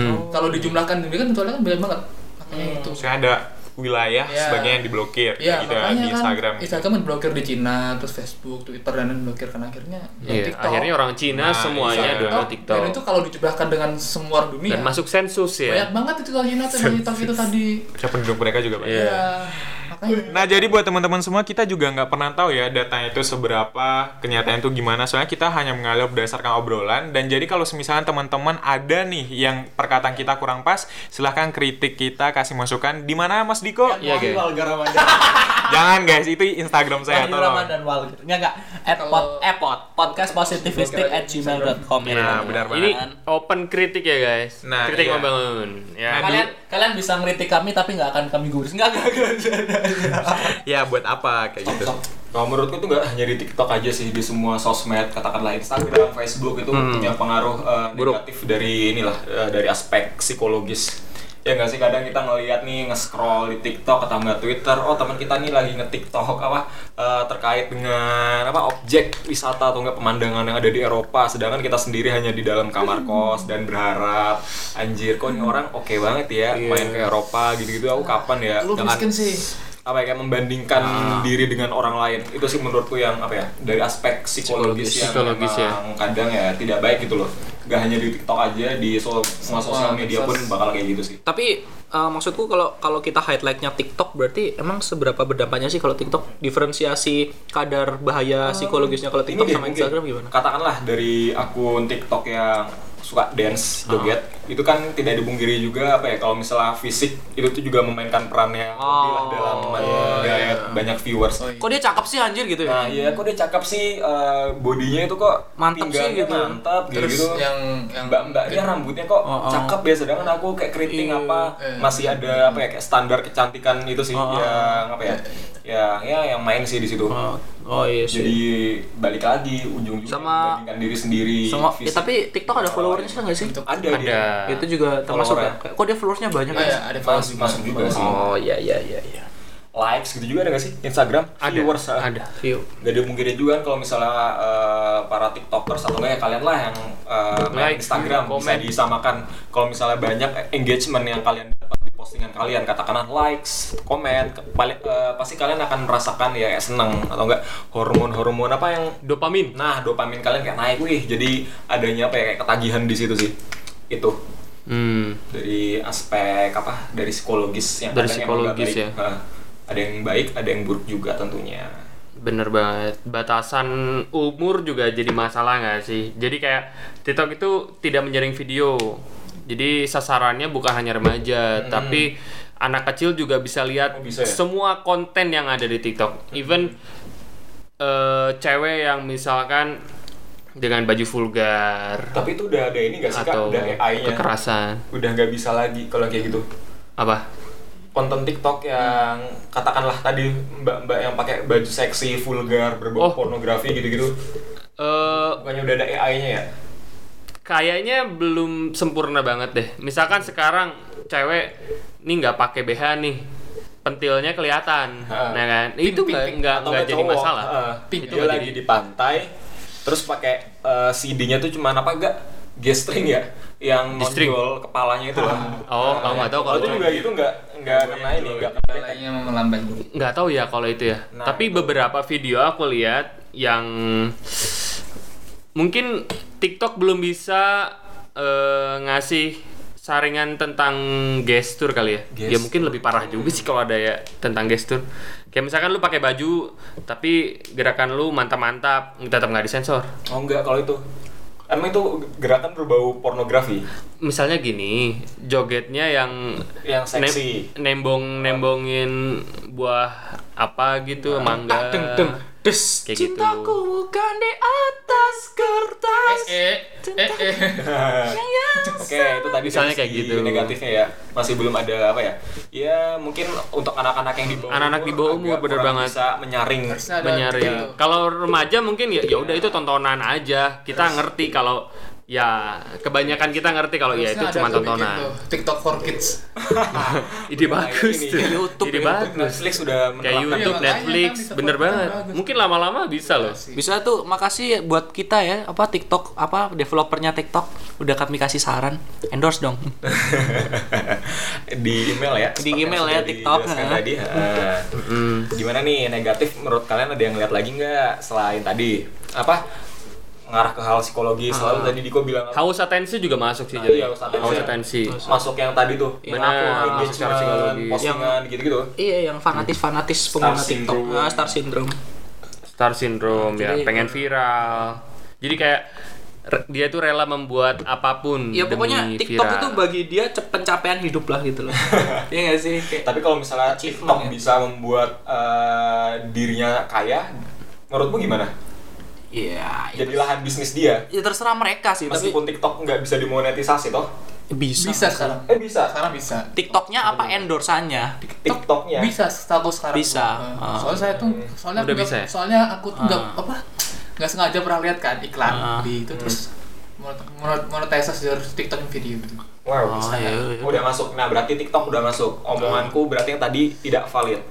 Hmm,
Kalau dijumlahkan demikian totalnya kan banyak banget. Makanya gitu. itu.
Maksudnya gitu. ada wilayah
Iya.
sebagai yang diblokir kayak
Iya,
gitu ya,
makanya
di Instagram.
kan Instagram diblokir di Cina, terus Facebook, Twitter dan lain blokir kan akhirnya ya
Iya, akhirnya orang Cina
Nah,
semuanya
iya.
download
kan? Oh, Dan itu
TikTok.
kalau dijumlahkan dengan semua orang dunia.
Dan masuk sensus ya.
banyak banget itu kalau Cina tuh dari TikTok itu tadi.
Saya penduduk mereka juga banyak.
Iya.
Ya, makanya
Nah, jadi buat teman-teman semua kita juga nggak pernah tahu ya datanya itu seberapa, kenyataan itu gimana. Soalnya kita hanya mengalir berdasarkan obrolan dan jadi kalau misalnya teman-teman ada nih yang perkataan kita kurang pas, silahkan kritik kita, kasih masukan di mana Mas Diko?
Ya,
Iya, guys.
Jangan guys, itu Instagram saya
Wahyu
tolong.
Ramadan Wal gitu. Enggak enggak. At pod, eh, pod, podcast positivistik at gmail.com ya.
Nah, benar
Ini
banget.
open kritik ya, guys.
Nah,
kritik
iya.
membangun. Ya.
Nah,
Kalian kalian bisa ngeritik kami tapi nggak akan kami gurus. Enggak enggak enggak.
Ya buat apa kayak gitu.
Kalau menurutku tuh nggak hanya di TikTok aja sih di semua sosmed katakanlah Instagram,
Hmm.
Facebook itu punya pengaruh eh, negatif dari inilah eh, dari aspek psikologis. Ya nggak sih kadang kita ngelihat nih nge-scroll di TikTok atau nggak Twitter, oh teman kita nih lagi nge-TikTok apa eh, terkait dengan apa objek wisata atau nggak pemandangan yang ada di Eropa, sedangkan kita sendiri hanya di dalam
Hmm.
kamar kos dan berharap anjir kok ini orang oke banget ya main ke Eropa gitu-gitu aku kapan ya
lu
Jangan-
miskin sih.
apa ya kayak membandingkan diri dengan orang lain itu sih menurutku yang apa ya dari aspek psikologis, yang
Psikologis, ya.
memang kadang ya tidak baik gitu loh nggak hanya di TikTok aja di so- semua sosial media pun bakal kayak gitu sih
Tapi eh, maksudku kalau kalau kita highlightnya TikTok berarti emang seberapa berdampaknya sih kalau TikTok diferensiasi kadar
Eh,
bahaya psikologisnya kalau TikTok
deh
sama
mungkin.
Instagram gimana?
katakanlah dari akun TikTok yang suka dance joget itu kan tidak dipungkiri juga apa ya kalau misalnya fisik itu tuh juga memainkan perannya lebih lah dalam menggayat banyak viewers
iya.
Kok dia cakep sih anjir gitu ya?
Nah, iya kok dia cakep sih eh, bodinya itu kok
Mantep sih
pinggangnya
gitu.
Mantap gitu.
Terus yang yang
mbak-mbaknya rambutnya kok cakep ya sedangkan aku kayak keriting apa masih ada apa ya kayak standar kecantikan itu sih yang apa ya yang ya yang main sih di situ
Oh, oh iya sih.
jadi balik lagi ujung-ujungnya
Sama-
membandingkan diri sendiri
Sama, eh,
ya,
fisik.
tapi TikTok ada followernya sih nggak sih?
ada dia.
Ada.
Itu juga termasuk
Follower
ya? Kayak, Kok dia followersnya
Oh,
banyak
Ah,
ya?
iya,
ya, ada fans
masuk
juga.
masuk juga sih
Oh iya iya iya iya.
likes gitu juga ada nggak sih Instagram viewers ah.
Ada.
View.
Gak dimungkinin juga kan kalau misalnya eh, para tiktokers atau nggak ya kalian lah yang eh,
Like,
main Instagram bisa
comment.
disamakan kalau misalnya banyak engagement yang kalian dapat di postingan kalian katakanlah likes, komen, ke- paling- eh, pasti kalian akan merasakan ya kayak seneng atau enggak hormon-hormon apa yang
Dopamin.
nah dopamin kalian kayak naik wih jadi adanya apa ya kayak ketagihan di situ sih itu
Hmm.
dari aspek apa dari psikologis yang
Dari
kadang emang nggak
psikologis
baik.
ya.
Heeh. ada yang baik ada yang buruk juga tentunya
Bener banget. Batasan umur juga jadi masalah nggak sih? Jadi kayak TikTok itu tidak menjaring video. Jadi sasarannya bukan hanya remaja, tapi anak kecil juga bisa lihat
Hmm. Oh, bisa ya? Hmm.
semua konten yang ada di TikTok. Even eh, cewek yang misalkan dengan baju vulgar
Tapi itu udah ada ini gak sih kak?
atau
Udah AI-nya.
kekerasan
Udah nggak bisa lagi kalau kayak gitu.
apa?
Konten TikTok yang katakanlah tadi mbak-mbak yang pakai baju seksi, vulgar,
Oh.
berbau pornografi gitu-gitu.
Eh,
Bukannya udah ada AI-nya ya?
kayaknya belum sempurna banget deh. Misalkan sekarang cewek nih nggak pakai BH nih, pentilnya kelihatan,
Ha.
nah kan? Itu nggak nggak
Atau
nggak
nggak
jadi
cowok,
masalah.
Ah.
heeh.
Itu
dia
nggak
lagi
jadi-
di pantai, terus pakai eh, CD-nya tuh cuman apa enggak? G-string ya? Yang
G-string.
nonjol kepalanya itu lah.
Oh, kamu nggak tahu
Kalau
kalau
itu juga itu nggak nggak kena ini, nggak kena detek.
Kayaknya melambai.
nggak tahu ya kalau itu ya.
Nah,
Tapi beberapa video aku lihat yang mungkin TikTok belum bisa eh, ngasih saringan tentang gestur kali ya. Ya
Gestur.
mungkin lebih parah juga sih kalau ada ya tentang gestur. Kayak misalkan lu pakai baju tapi gerakan lu mantap-mantap tetap nggak disensor.
Oh enggak kalau itu. Emang itu gerakan berbau pornografi
Misalnya gini, jogetnya yang
yang seksi.
nem- nembong-nembongin buah apa gitu,
Nah. Ah,
mangga.
Eh,
Teng teng des.
Kayak gitu.
bukan di atas kertas
Eh, eh, eh.
Oke, itu tadi
Misalnya
dari
kayak
segi
gitu.
negatifnya ya. Masih belum ada apa ya? Ya, mungkin untuk anak-anak yang di bawah
Anak-anak di bawah umur,
agak
bener
kurang
banget.
bisa menyaring.
Harusnya ada
menyaring.
gitu.
Kalau remaja mungkin ya ya udah itu tontonan aja. Kita ngerti kalau ya kebanyakan kita ngerti kalau ya itu
Harusnya
cuma
ada gitu. tuh bikin tuh,
tontonan.
TikTok for kids.
Ide bagus
Nah, ini. Iya,
tuh.
YouTube,
Ide bagus.
Netflix sudah
Kayak
menerapkan
YouTube,
makanya kan
Netflix,
bisa
bener
buat
banget.
bagus.
Mungkin lama-lama bisa loh.
bisa tuh makasih buat kita ya apa TikTok apa developernya TikTok udah kami kasih saran endorse dong
di email ya
Di
seperti
email
yang
ya,
sudah
TikTok,
dijelaskan
ha.
tadi ha. gimana nih negatif menurut kalian ada yang lihat lagi nggak selain tadi apa ngarah ke hal psikologi
Ah.
selalu tadi Diko bilang apa?
Haus atensi juga masuk sih
Nah,
jadi.
iya, haus atensi.
Haus atensi.
masuk yang tadi tuh
Yang
Benar,
aku, ah,
engagement,
secara psikologi.
postingan gitu-gitu
iya yang fanatis fanatis pengguna TikTok
syndrome.
Ah, star syndrome
Star syndrome ya,
Jadi-
pengen viral. Jadi kayak re- dia tuh rela membuat apapun
ya pokoknya
demi
TikTok
viral.
itu bagi dia ce- pencapaian hidup lah gitu loh iya gak sih Kayak-
tapi kalau misalnya
Achievement,
TikTok
ya.
bisa membuat eh, dirinya kaya menurutmu gimana
iya ya,
jadi lahan bisnis dia
ya terserah mereka sih tapi
meskipun TikTok nggak bisa dimonetisasi toh
bisa
Bisa sekarang.
eh bisa
Sekarang bisa.
TikToknya apa endorsannya
TikToknya
Bisa status sekarang.
Bisa.
Heeh.
Ah.
Soalnya saya tuh
Udah
soalnya aku nggak-
bisa ya?
soalnya aku tuh nggak apa nggak sengaja pernah lihat kan iklan
Ah.
di itu terus monet- monetisasi dari TikTok video gitu.
Wow,
Oh,
bisa
iya, iya.
Udah masuk. Nah, berarti TikTok udah masuk. Omonganku berarti yang tadi tidak valid.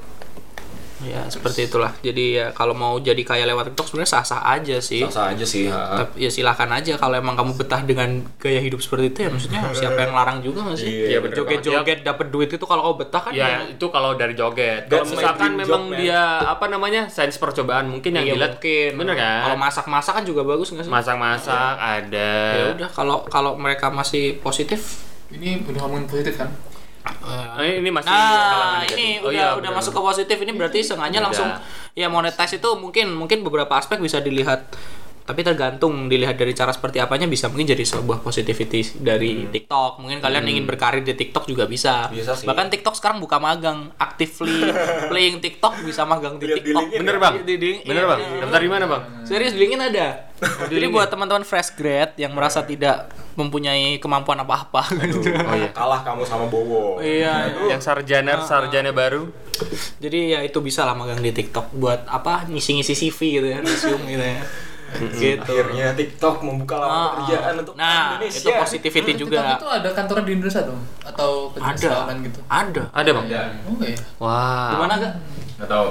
ya seperti itulah jadi ya kalau mau jadi kaya lewat TikTok sebenarnya sah sah Iya. aja sih
Sasa aja sih. ha.
tapi ya silahkan aja kalau emang kamu betah dengan gaya hidup seperti itu ya maksudnya siapa yang larang juga nggak sih
Iya,
bener
joget-joget dapat duit itu kalau kamu betah kan
Ya itu kalau dari joget. Kalau
That's my
misalkan
dream
memang
job, man.
dia apa namanya sains percobaan mungkin yang
Iya,
dilihat
mungkin.
bener kan?
kalau masak-masak kan juga bagus nggak sih
masak-masak ada.
ya udah kalau kalau mereka masih positif
Ini udah ngomongin positif kan?
Oh, ini masih
Nah,
kalangan negatif.
ini udah
Oh, iya,
udah
bener.
masuk ke positif ini berarti sengaja
Udah.
langsung ya monetize itu mungkin mungkin beberapa aspek bisa dilihat tapi tergantung dilihat dari cara seperti apanya bisa mungkin jadi sebuah positivity dari
Hmm.
TikTok. Mungkin kalian ingin berkarir di TikTok juga bisa.
Bisa sih.
Bahkan TikTok sekarang buka magang, actively playing TikTok bisa magang di
Lihat di
TikTok.
LinkedIn
Bener bang,
Di- di-
bener
iya.
bang. Daftar di mana bang?
Serius di LinkedIn ada. Jadi buat teman-teman fresh grad yang merasa tidak mempunyai kemampuan apa-apa gitu.
Oh, iya.
Kalah kamu sama Bowo.
Iya,
Yang sarjana sarjana baru.
Jadi ya itu bisa lah magang di TikTok buat apa ngisi-ngisi CV gitu ya, resume gitu ya. gitu.
Hmm. Akhirnya TikTok membuka lapangan
Ah,
pekerjaan Oh, untuk
nah,
orang Indonesia.
itu positivity
TikTok
juga.
Hmm, itu ada kantornya di Indonesia dong atau
Ada.
kejuruteraan gitu?
Ada.
Ada bang.
Ya.
Oh iya.
Wah.
Gimana gak?
Nggak tahu.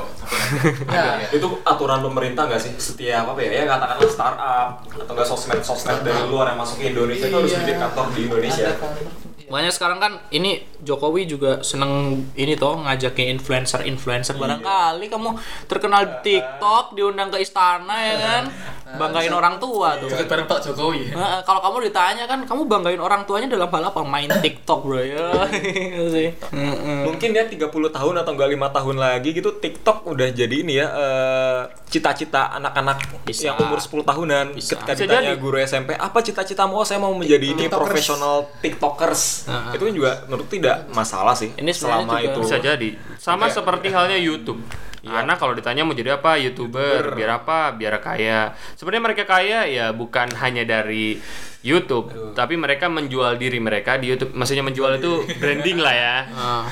Ya.
Itu aturan pemerintah nggak sih? Setiap apa ya? Ya katakanlah startup atau nggak sosmed-sosmed dari luar yang masuk ke Indonesia itu harus
Iya.
bikin kantor di Indonesia.
Ada kantor.
Makanya sekarang kan ini Jokowi juga seneng ini toh ngajakin influencer-influencer barangkali kamu terkenal di TikTok diundang ke istana ya kan.
banggain orang tua tuh
Joget bareng Pak Jokowi ya.
Nah, kalau kamu ditanya kan kamu banggain orang tuanya dalam hal apa main TikTok bro ya
Iya
Gitu sih Mm-mm.
Mungkin ya 30 tahun atau enggak lima tahun lagi gitu TikTok udah jadi ini ya eh, cita-cita anak-anak
Bisa.
yang umur 10 tahunan
Bisa.
ketika
Bisa
ditanya
jadi.
guru SMP apa cita-citamu oh saya mau menjadi ini
Tiktokers.
profesional TikTokers.
Heeh.
Itu kan juga menurut tidak masalah sih
Ini sebenarnya
selama
juga
itu
bisa jadi sama seperti halnya YouTube anak kalau ditanya mau jadi apa youtuber biar apa biar kaya sebenarnya mereka kaya ya bukan hanya dari YouTube tapi mereka menjual diri mereka di YouTube maksudnya menjual itu branding lah ya
Ah.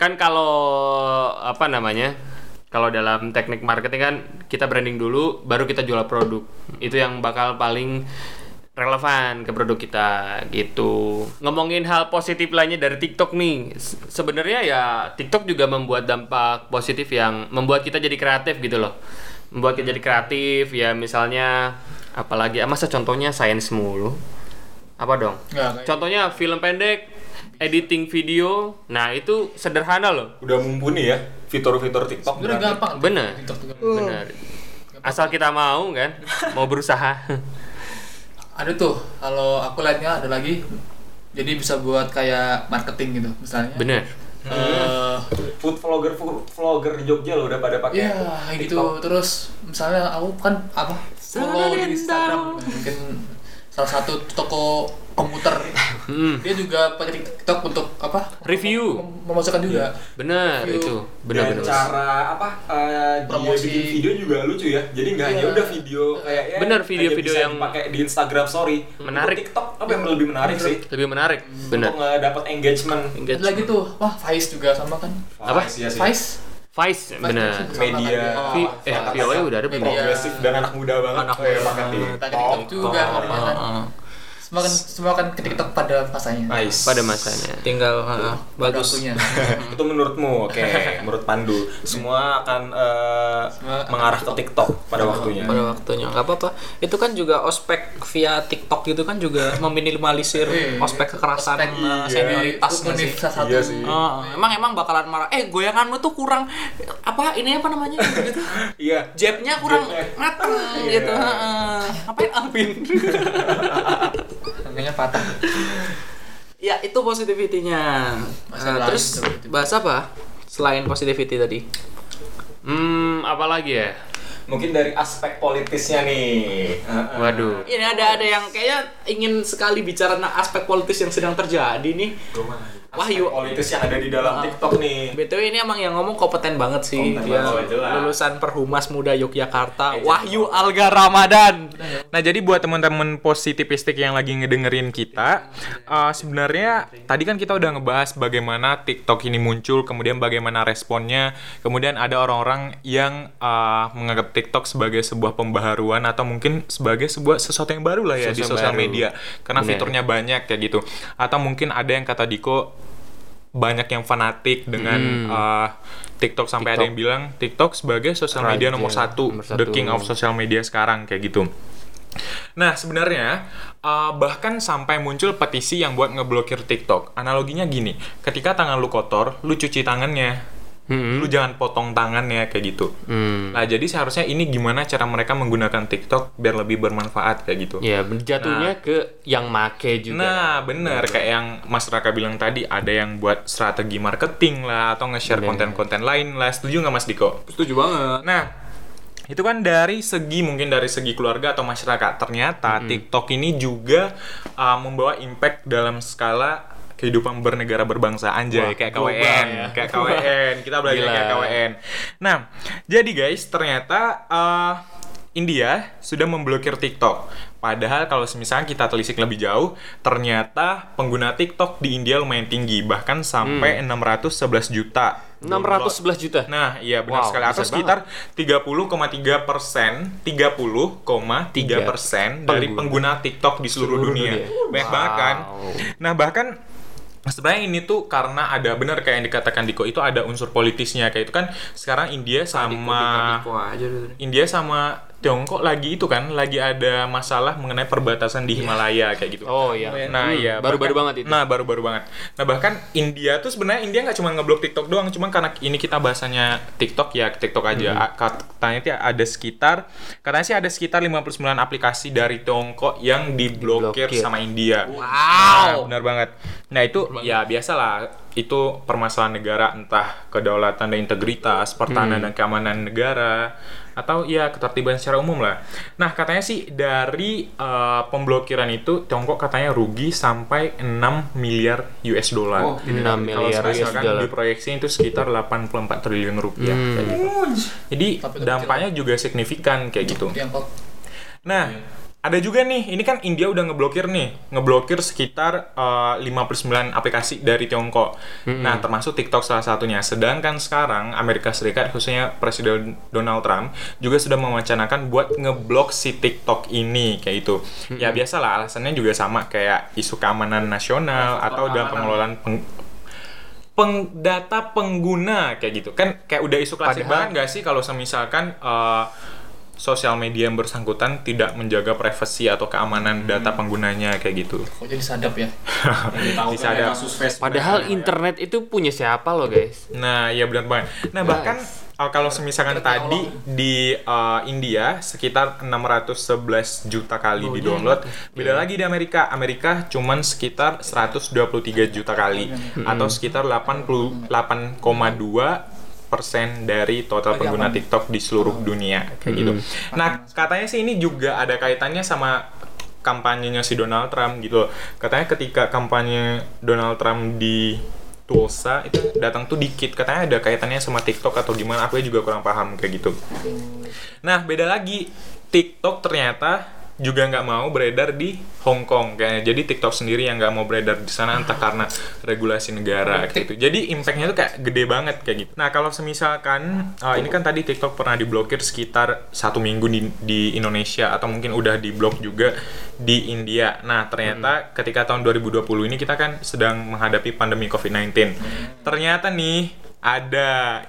kan kalau apa namanya kalau dalam teknik marketing kan kita branding dulu baru kita jual produk itu yang bakal paling relevan ke produk kita gitu ngomongin hal positif lainnya dari TikTok nih se- sebenarnya ya TikTok juga membuat dampak positif yang membuat kita jadi kreatif gitu loh membuat kita jadi kreatif ya misalnya apalagi ah, masa contohnya sains mulu apa dong
Nggak, nggak.
Contohnya film pendek, editing video. Nah, itu sederhana loh.
udah mumpuni ya fitur-fitur TikTok. berarti.
Sebenarnya gampang.
Bener.
TikTok tuh gampang.
Benar. Asal kita mau kan, mau berusaha.
Ada tuh, kalau aku lihatnya ada lagi. Jadi bisa buat kayak marketing gitu, misalnya.
Bener.
Eh,
Food vlogger food vlogger di Jogja loh udah pada pakai.
ya kayak gitu terus misalnya aku kan apa follow di Instagram mungkin salah satu toko komputer
Mm,
dia juga pakai TikTok untuk apa
Review.
mem- memasukkan juga
bener
Review.
itu.
Dan
Bener bener.
cara apa eh, dia
Promosi.
bikin video juga lucu ya. Jadi nggak hanya
Iya.
udah video kayak ya,
Bener,
hanya
video-video
bisa
yang
dipakai di Instagram story.
menarik.
Untuk TikTok apa yang lebih menarik sih?
Lebih menarik. Bener.
Untuk ngedapat engagement.
Iya.
ada lagi tuh wah Vice juga sama kan
Apa?
Vice, iya sih.
Vice
Vice bener.
Vice
Media.
sama
Vi-
kan
eh,
dia. Vice.
VOA udah ada belum?
Media.
Progresif dan anak muda banget. Oh, iya,
Anak
kayak
muda.
pakai
Pakai
TikTok.
TikTok juga makanya kan.
Ah.
semua kan semua kan ke TikTok pada masanya
Nice.
Pada masanya.
tinggal ah,
pada
bagus
waktunya.
Itu menurutmu, oke, menurut Pandu, semua akan eh,
Semua akan
mengarah ke TikTok pada waktunya.
pada waktunya nggak apa-apa itu kan juga ospek via TikTok gitu kan juga meminimalisir
Iya.
ospek kekerasan
Ospek.
eh,
Iya.
senioritas
Itu
nggak sih?
salah satu
Iya sih.
Oh, emang emang bakalan marah. Eh, goyanganmu tuh kurang apa ini apa namanya gitu.
Iya.
Jabnya kurang
Jabnya.
mateng
Iya.
gitu. Heeh. Ngapain Alvin?
Makanya patah
ya, itu positivity-nya. Nah,
Masa lain
terus
positivity.
bahas apa? Selain positivity tadi.
Hmm, apa lagi ya?
Mungkin dari aspek politisnya nih. Heeh.
Waduh.
Iya, Ini ada ada yang kayaknya ingin sekali bicara tentang aspek politis yang sedang terjadi nih. Wahyu.
Aspek politis yang ada di dalam TikTok nih.
BTW ini emang yang ngomong kompeten banget sih
Kompeten
dia.
banget, jelas.
Lulusan Perhumas Muda Yogyakarta, Wahyu Alga Ramadan.
Nah, jadi buat teman-teman positivistik yang lagi ngedengerin kita, eh, sebenarnya tadi kan kita udah ngebahas bagaimana TikTok ini muncul, kemudian bagaimana responnya, kemudian ada orang-orang yang eh, menganggap TikTok sebagai sebuah pembaharuan atau mungkin sebagai sebuah sesuatu yang baru lah ya
Sesuatu
di
yang
sosial
baru.
media karena
Bener.
fiturnya banyak kayak gitu. Atau mungkin ada yang kata Diko banyak yang fanatik dengan eh, TikTok sampai ada
Hmm. TikTok.
yang bilang TikTok sebagai sosial
Raja,
media nomor satu,
nomor
the
satu.
king of sosial media sekarang kayak gitu. Nah, sebenarnya uh, bahkan sampai muncul petisi yang buat ngeblokir TikTok. Analoginya gini, ketika tangan lu kotor, lu cuci tangannya.
Hmm.
Lu jangan potong tangannya kayak gitu.
Hmm.
Nah, jadi seharusnya ini gimana cara mereka menggunakan TikTok biar lebih bermanfaat kayak gitu.
Ya, jatuhnya ke yang make juga.
Nah, bener kayak yang Mas Raka bilang tadi ada yang buat strategi marketing lah atau nge-share
Iya.
konten-konten lain lah. Setuju nggak Mas Diko?
Setuju banget.
Nah, itu kan dari segi mungkin dari segi keluarga atau masyarakat. Ternyata TikTok ini juga uh, membawa impact dalam skala kehidupan bernegara berbangsa
Wah,
anjay kayak
global
KWN,
ya.
kayak KWN. Kita belajar
Gila.
kayak KWN. Nah, jadi guys, ternyata uh, India sudah memblokir TikTok. Padahal kalau misalnya kita telisik lebih jauh, ternyata pengguna TikTok di India lumayan tinggi, bahkan
Hmm.
sampai 611 juta.
611 juta.
Nah, iya
Wow,
benar sekali. Atau
besar
sekitar 30,3 persen, 30,3 persen dari pengguna TikTok di seluruh,
Seluruh
dunia.
dunia.
Banyak banget kan?
Wow.
Nah, bahkan sebenarnya ini tuh karena ada benar kayak yang dikatakan Diko
Nah.
itu ada unsur politisnya kayak itu kan sekarang India sama
Diko aja dulu.
India sama Tiongkok lagi itu kan lagi ada masalah mengenai perbatasan di Himalaya kayak gitu.
Oh iya.
Nah,
Hmm,
iya.
Baru-baru
bahkan-
banget itu.
Nah, baru-baru banget. Nah, bahkan India tuh sebenarnya India nggak cuma ngeblok TikTok doang, cuma karena ini kita bahasanya TikTok ya, TikTok aja.
Hmm.
A- Katanya tuh ada sekitar katanya sih ada sekitar 59 aplikasi dari Tiongkok yang diblokir
Diblokir.
sama India. Nah,
Wow.
benar banget. Nah, itu ya biasalah itu permasalahan negara entah kedaulatan dan integritas, pertahanan dan keamanan negara atau ya ketertiban secara umum lah. Nah, katanya sih dari eh, pemblokiran itu Tiongkok katanya rugi sampai 6 miliar US dollar.
Oh,
6
Kalau
miliar ya, US
misalkan
dollar.
diproyeksi itu sekitar 84 triliun rupiah
Hmm.
kayak gitu. Jadi
Tapi itu
dampaknya juga signifikan kayak gitu.
Tiongkok.
Nah, ada juga nih, ini kan India udah ngeblokir nih, ngeblokir sekitar eh, 59 aplikasi dari Tiongkok. Nah, termasuk TikTok salah satunya. Sedangkan sekarang Amerika Serikat khususnya Presiden Donald Trump juga sudah mewacanakan buat ngeblok si TikTok ini kayak itu. Ya biasalah alasannya juga sama kayak isu keamanan nasional atau dalam pengelolaan peng- peng- data pengguna kayak gitu kan kayak udah isu klasik banget nggak sih kalau misalkan eh, sosial media yang bersangkutan tidak menjaga privasi atau keamanan data penggunanya kayak gitu
Kok jadi sadap ya?
Tahu
Bisa
kan
ada.
ya kasus Facebook.
Padahal internet itu punya siapa loh guys?
nah iya benar banget nah bahkan uh, kalau misalkan tadi di uh, India sekitar 611 juta kali di download beda lagi di Amerika Amerika cuman sekitar 123 juta kali atau sekitar 88,2 persen dari total pengguna TikTok di seluruh dunia kayak gitu. Nah katanya sih ini juga ada kaitannya sama kampanyenya si Donald Trump gitu. loh. Katanya ketika kampanye Donald Trump di Tulsa itu datang tuh dikit katanya ada kaitannya sama TikTok atau gimana aku juga kurang paham kayak gitu. Nah, beda lagi TikTok ternyata juga nggak mau beredar di Hong Kong kayaknya. Jadi TikTok sendiri yang nggak mau beredar di sana entah karena regulasi negara kayak gitu. Jadi impactnya tuh kayak gede banget kayak gitu. Nah kalau semisalkan eh, ini kan tadi TikTok pernah diblokir sekitar satu minggu di, di Indonesia atau mungkin udah diblok juga di India. Nah ternyata ketika tahun 2020 ini kita kan sedang menghadapi pandemi COVID-19. Ternyata nih ada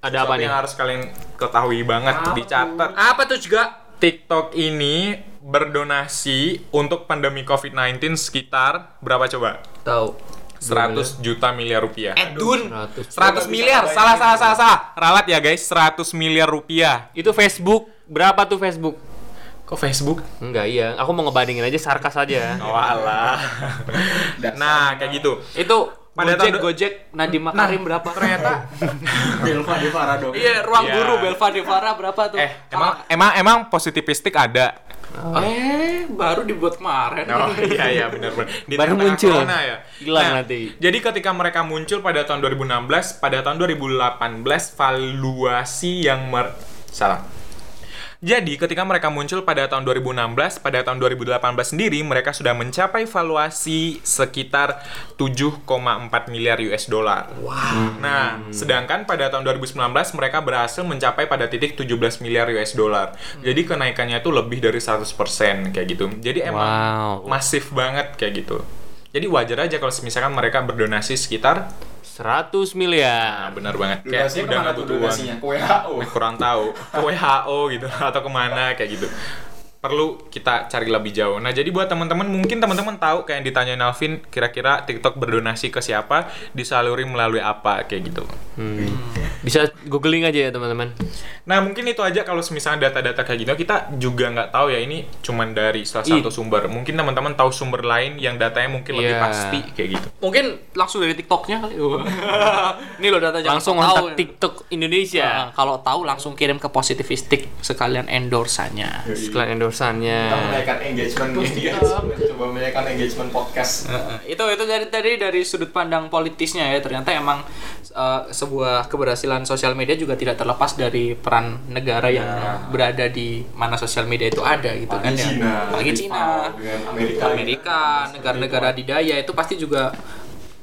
Ada apa
sesuatu
nih?
yang harus kalian ketahui banget dicatat
Apa tuh juga?
TikTok ini berdonasi untuk pandemi COVID-19 sekitar berapa coba?
Tahu.
100 juta miliar rupiah.
Edun.
100 miliar, salah salah salah salah. Ralat ya guys, 100 miliar rupiah.
Itu Facebook berapa tuh Facebook?
Kok Facebook?
Enggak iya, aku mau ngebandingin aja sarkas aja.
Walah. Oh, nah, kayak gitu.
Itu
Pada
Gojek,
tahun-
Gojek, Nadiem Makarim berapa? Ternyata
Belva Devara dong.
iya, ruang
Iya.
guru Belva Devara berapa tuh?
Eh, emang emang emang positivistik ada.
Ah. eh baru dibuat kemarin.
Oh iya iya benar-benar. Di
kan? Baru
tengah-tengah
muncul.
corona ya.
Hilang nanti.
Jadi ketika mereka muncul pada tahun 2016, pada tahun 2018 valuasi yang mer salah. Jadi ketika mereka muncul pada tahun 2016, pada tahun 2018 sendiri mereka sudah mencapai valuasi sekitar 7,4 miliar US dollar. Wow. Nah,
Hmm.
sedangkan pada tahun 2019 mereka berhasil mencapai pada titik 17 miliar US dollar.
Hmm.
Jadi kenaikannya itu lebih dari 100% kayak gitu. Jadi
Wow.
emang masif banget kayak gitu. Jadi wajar aja kalau misalkan mereka berdonasi sekitar
100
nah,
miliar.
benar banget kayak
Donasinya
udah
kemana
nggak
tuh
butuh uang Eh,
donasinya? Ke WHO.
kurang tahu ke WHO gitu atau kemana kayak gitu perlu kita cari lebih jauh. Nah jadi buat teman-teman mungkin teman-teman tahu kayak yang ditanyain Alvin kira-kira TikTok berdonasi ke siapa disaluri melalui apa kayak gitu.
Bisa googling aja ya teman-teman.
Nah mungkin itu aja kalau misalnya data-data kayak gitu kita juga nggak tahu ya ini cuman dari salah satu sumber. Mungkin teman-teman tahu sumber lain yang datanya mungkin
Iya.
lebih pasti kayak gitu.
Mungkin langsung dari TikToknya kali. Ini loh data jangan
Langsung
sok tahu.
kontak TikTok
Ya,
Ah,
Indonesia.
kalau tahu langsung kirim ke positivistik sekalian endorsannya.
Sekalian
Kita
endorsannya.
menaikkan engagement media. Coba menaikkan engagement podcast.
Nah, itu itu dari tadi dari sudut pandang politisnya ya ternyata emang eh, sebuah keberhasilan sosial media juga tidak terlepas dari peran negara yang berada di mana sosial media itu ada gitu kan
Di
ya.
Cina,
Iya. Apalagi
di
Cina,
Jepang, dengan Amerika,
Amerika, negara-negara adidaya itu pasti juga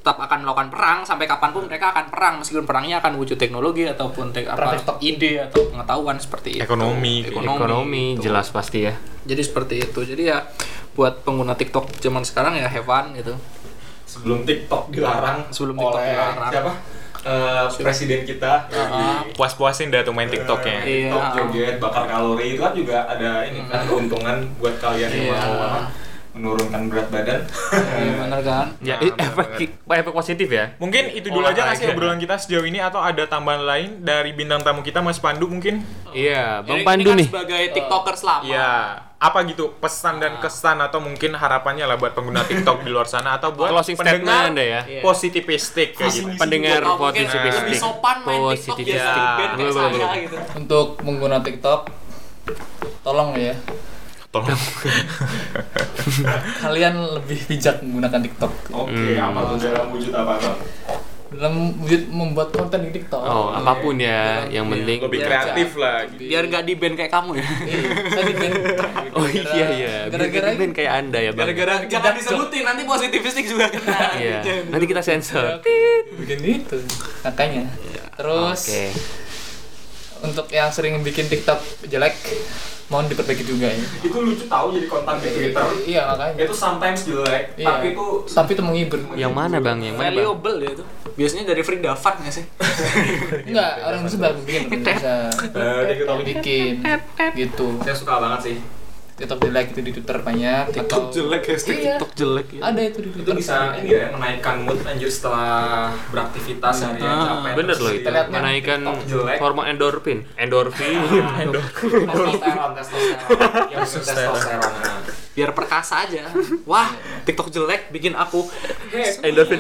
tetap akan melakukan perang sampai kapanpun mereka akan perang meskipun perangnya akan wujud teknologi ataupun tek- apa, ide atau pengetahuan seperti itu
Iya.
Ekonomi, kayak
ekonomi,
Ekonomi
gitu.
jelas pasti ya.
jadi seperti itu jadi ya buat pengguna TikTok zaman sekarang ya have fun gitu
Sebelum TikTok dilarang
Sebelum
oleh
TikTok dilarang.
Siapa? eh, presiden kita
ah.
Ah.
Puas-puasin dah tuh main TikToknya.
Iya.
TikTok joget bakar kalori itu kan juga ada ini kan keuntungan buat kalian yang
Iya.
mau apa, menurunkan berat badan
Iya, bener kan?
Ya,
Nah,
i- efek, efek positif ya.
Mungkin itu dulu aja
Olahraga.
kasih obrolan kita sejauh ini atau ada tambahan lain dari bintang tamu kita Mas Pandu mungkin?
Iya,
Ini-
Bang
ini
Pandu
kan
nih.
sebagai tiktokers lama.
Iya, apa gitu pesan dan kesan atau mungkin harapannya lah buat pengguna TikTok di luar sana atau buat
Closing statement
pendengar
Anda ya.
Iya.
positivistik kayak gitu.
Pendengar
Oh, mungkin lebih
positivistik.
sopan main TikTok biasa di
Positivistik.
band kayak
Belum,
saya
belum.
gitu.
untuk pengguna TikTok tolong ya
Tolong.
kalian lebih bijak menggunakan TikTok
oke
Hmm.
apa tuh dalam wujud apa tuh
dalam wujud membuat konten di TikTok.
Oh, apapun ya, yang penting.
Lebih
Iya,
kreatif
Cak.
lah gitu.
Biar nggak di band kayak kamu ya.
Iya, saya di band.
Oh iya iya,
Gara-gara
gara-gara kayak Anda ya, Bang.
gara-gara
Jangan disebutin nanti positivistik juga kena. Gitu.
Iya. Nanti kita sensor.
bikin itu makanya.
Iya.
Terus
Oke.
untuk yang sering bikin TikTok jelek mohon diperbaiki juga ya.
itu lucu tahu jadi konten di Twitter
Iya makanya.
itu sometimes jelek
Iya.
tapi itu
tapi itu menghibur.
Yang mana, Bang? Yang mana, Bang?
Valuable ya itu. Biasanya dari Free Davan nggak sih?
Enggak, orang bisa bikin orang bisa
eh, TikTok ini
bikin gitu.
saya suka banget sih
TikTok jelek itu di Twitter banyak TikTok
jelek hashtag
Iya.
TikTok jelek ya.
Ada itu di
itu
Twitter.
bisa ini ya menaikkan mood anjir setelah beraktivitas harian
Ah,
capek
Bener
terus
loh
di-
itu.
Terlihat
Menaikkan
TikTok jelek.
hormon endorfin. Endorfin.
testosteron testosteron yang penting testosteron nah.
Biar perkasa aja. Wah, TikTok jelek bikin aku
endorfin.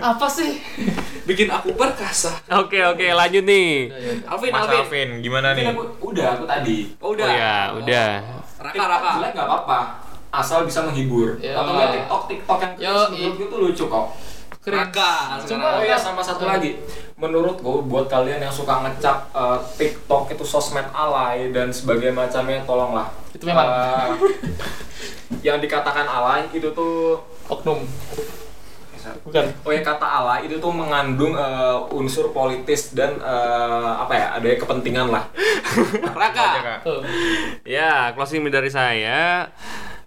Apa sih?
bikin aku perkasa.
Oke oke, lanjut nih.
Alvin,
Mas
Alvin.
Alvin, gimana
Tapi
nih?
aku udah aku tadi
Oh udah.
Oh ya, udah.
Raka,
TikTok
Raka.
jelek nggak apa-apa asal bisa menghibur
Ya.
atau nggak TikTok TikTok yang
Yo,
keren
i.
menurutku tuh lucu kok
Keren.
Raka.
Cuma-
oh iya sama satu lagi menurutku buat kalian yang suka ngecap eh, TikTok itu sosmed alay dan sebagainya macamnya tolonglah
Itu memang.
Eh, yang dikatakan alay itu tuh
Oknum. Bukan.
Oh ya kata Allah itu tuh mengandung eh, unsur politis dan eh, apa ya ada kepentingan lah.
Raka.
Tuh.
Ya, closing dari saya.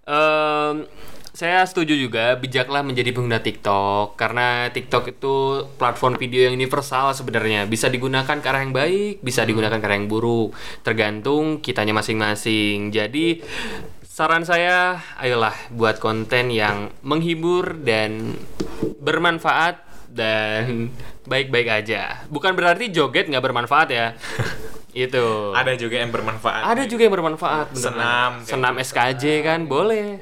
Em, saya setuju juga bijaklah menjadi pengguna TikTok karena TikTok itu platform video yang universal sebenarnya. Bisa digunakan ke arah yang baik, bisa digunakan ke arah yang buruk, tergantung kitanya masing-masing. Jadi saran saya, ayolah buat konten yang menghibur dan bermanfaat dan baik-baik aja. Bukan berarti joget nggak bermanfaat ya. itu
Ada juga yang bermanfaat.
ada juga yang bermanfaat bener.
Senam, kayak gitu.
senam SKJ kan boleh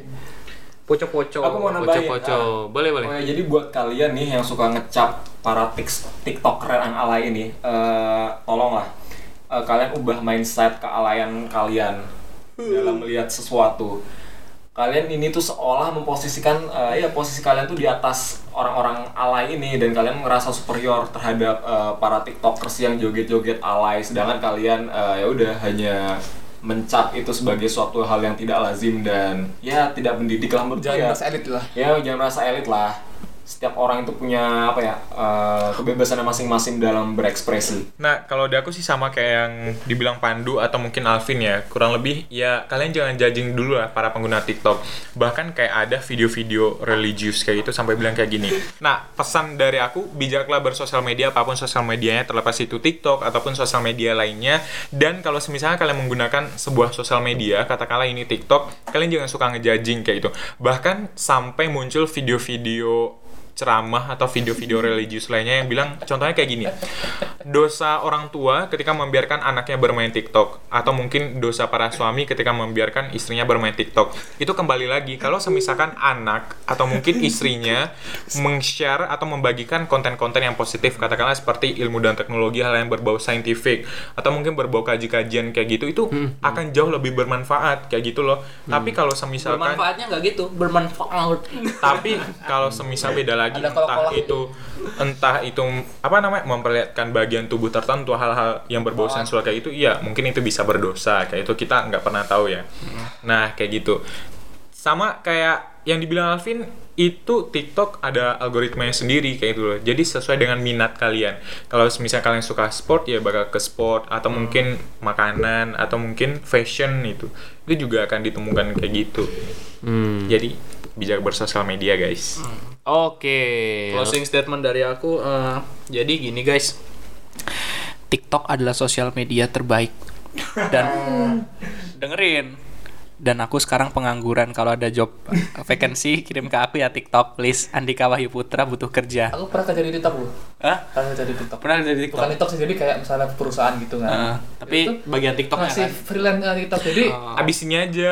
Poco-poco.
Aku mau nambahin.
poco-poco
eh,
boleh boleh
oh ya, jadi buat kalian nih yang suka ngecap para tiks- tiktoker yang alay ini, eh, tolonglah eh, kalian ubah mindset kealayan kalian dalam melihat sesuatu. Kalian ini tuh seolah memposisikan eh, ya posisi kalian tuh di atas orang-orang alay ini dan kalian merasa superior terhadap eh, para tiktokers yang joget-joget alay sedangkan kalian eh, ya udah hanya mencap itu sebagai suatu hal yang tidak lazim dan ya tidak mendidik lah menurut
Jangan
saya
merasa elit lah.
ya jangan rasa elit lah setiap orang itu punya apa ya eh, kebebasan masing-masing dalam berekspresi
Nah, kalau di aku sih sama kayak yang dibilang Pandu atau mungkin Alvin ya, kurang lebih ya kalian jangan judging dulu lah para pengguna TikTok. Bahkan kayak ada video-video religius kayak gitu sampai bilang kayak gini. Nah, pesan dari aku, bijaklah bersosial media apapun sosial medianya terlepas itu TikTok ataupun sosial media lainnya. Dan kalau misalnya kalian menggunakan sebuah sosial media, katakanlah ini TikTok, kalian jangan suka ngejudging kayak gitu. Bahkan sampai muncul video-video ceramah atau video-video religius lainnya yang bilang contohnya kayak gini dosa orang tua ketika membiarkan anaknya bermain TikTok atau mungkin dosa para suami ketika membiarkan istrinya bermain TikTok itu kembali lagi kalau semisalkan anak atau mungkin istrinya meng-share atau membagikan konten-konten yang positif katakanlah seperti ilmu dan teknologi hal yang berbau saintifik atau mungkin berbau kaji-kajian kayak gitu itu akan jauh lebih bermanfaat kayak gitu loh tapi kalau
Kan?
semisalkan
Bermanfaatnya nggak gitu, bermanfaat.
tapi kalau semisal beda lagi entah
Ada kolak-kolak.
itu entah itu apa namanya memperlihatkan bagian tubuh tertentu hal-hal yang berbau sensual kayak itu iya mungkin itu bisa berdosa kayak itu kita nggak pernah tahu ya nah kayak gitu sama kayak yang dibilang Alvin itu TikTok ada algoritmanya sendiri kayak gitu loh. Jadi sesuai dengan minat kalian. Kalau misalnya kalian suka sport ya bakal ke sport atau mungkin makanan atau mungkin fashion itu. Itu juga akan ditemukan kayak gitu.
Hmm.
Jadi bijak bersosial media guys.
Oke.
Iya. Closing statement dari aku, eh, jadi gini guys, TikTok adalah sosial media terbaik dan dengerin. Dan aku sekarang pengangguran kalau ada job eh, vacancy kirim ke aku ya TikTok please. Andika Wahyu Putra butuh kerja.
Aku pernah kerja di TikTok loh.
Hah?
Pernah kerja di TikTok.
Pernah dari
Bukan
TikTok?
TikTok sih, jadi kayak misalnya perusahaan gitu kan.
Eh, tapi
Itu
bagian TikToknya
masih
kan.
freelance eh, TikTok. Jadi
Abis ini aja.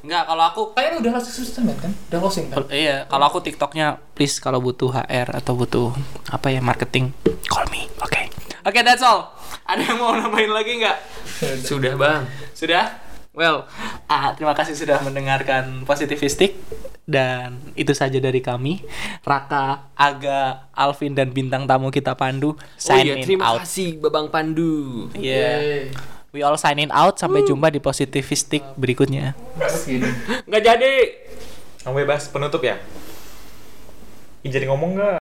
Enggak, kalau aku
kayaknya udah langsung sustain kan? Udah closing kan?
iya, kalau aku TikToknya please kalau butuh HR atau butuh apa ya marketing, call me. Oke. Oke, that's all. Ada yang mau nambahin lagi nggak?
Sudah bang.
Sudah? Well, ah, terima kasih sudah mendengarkan Positivistik dan itu saja dari kami Raka, Aga, Alvin dan bintang tamu kita Pandu sign
oh iya,
in
terima
out.
kasih Babang Pandu.
Yeah.
Yeay.
We all sign in out sampai jumpa di Positivistik berikutnya.
Terus gini.
Nggak jadi.
Kamu bebas penutup ya? Ih, Jadi ngomong nggak?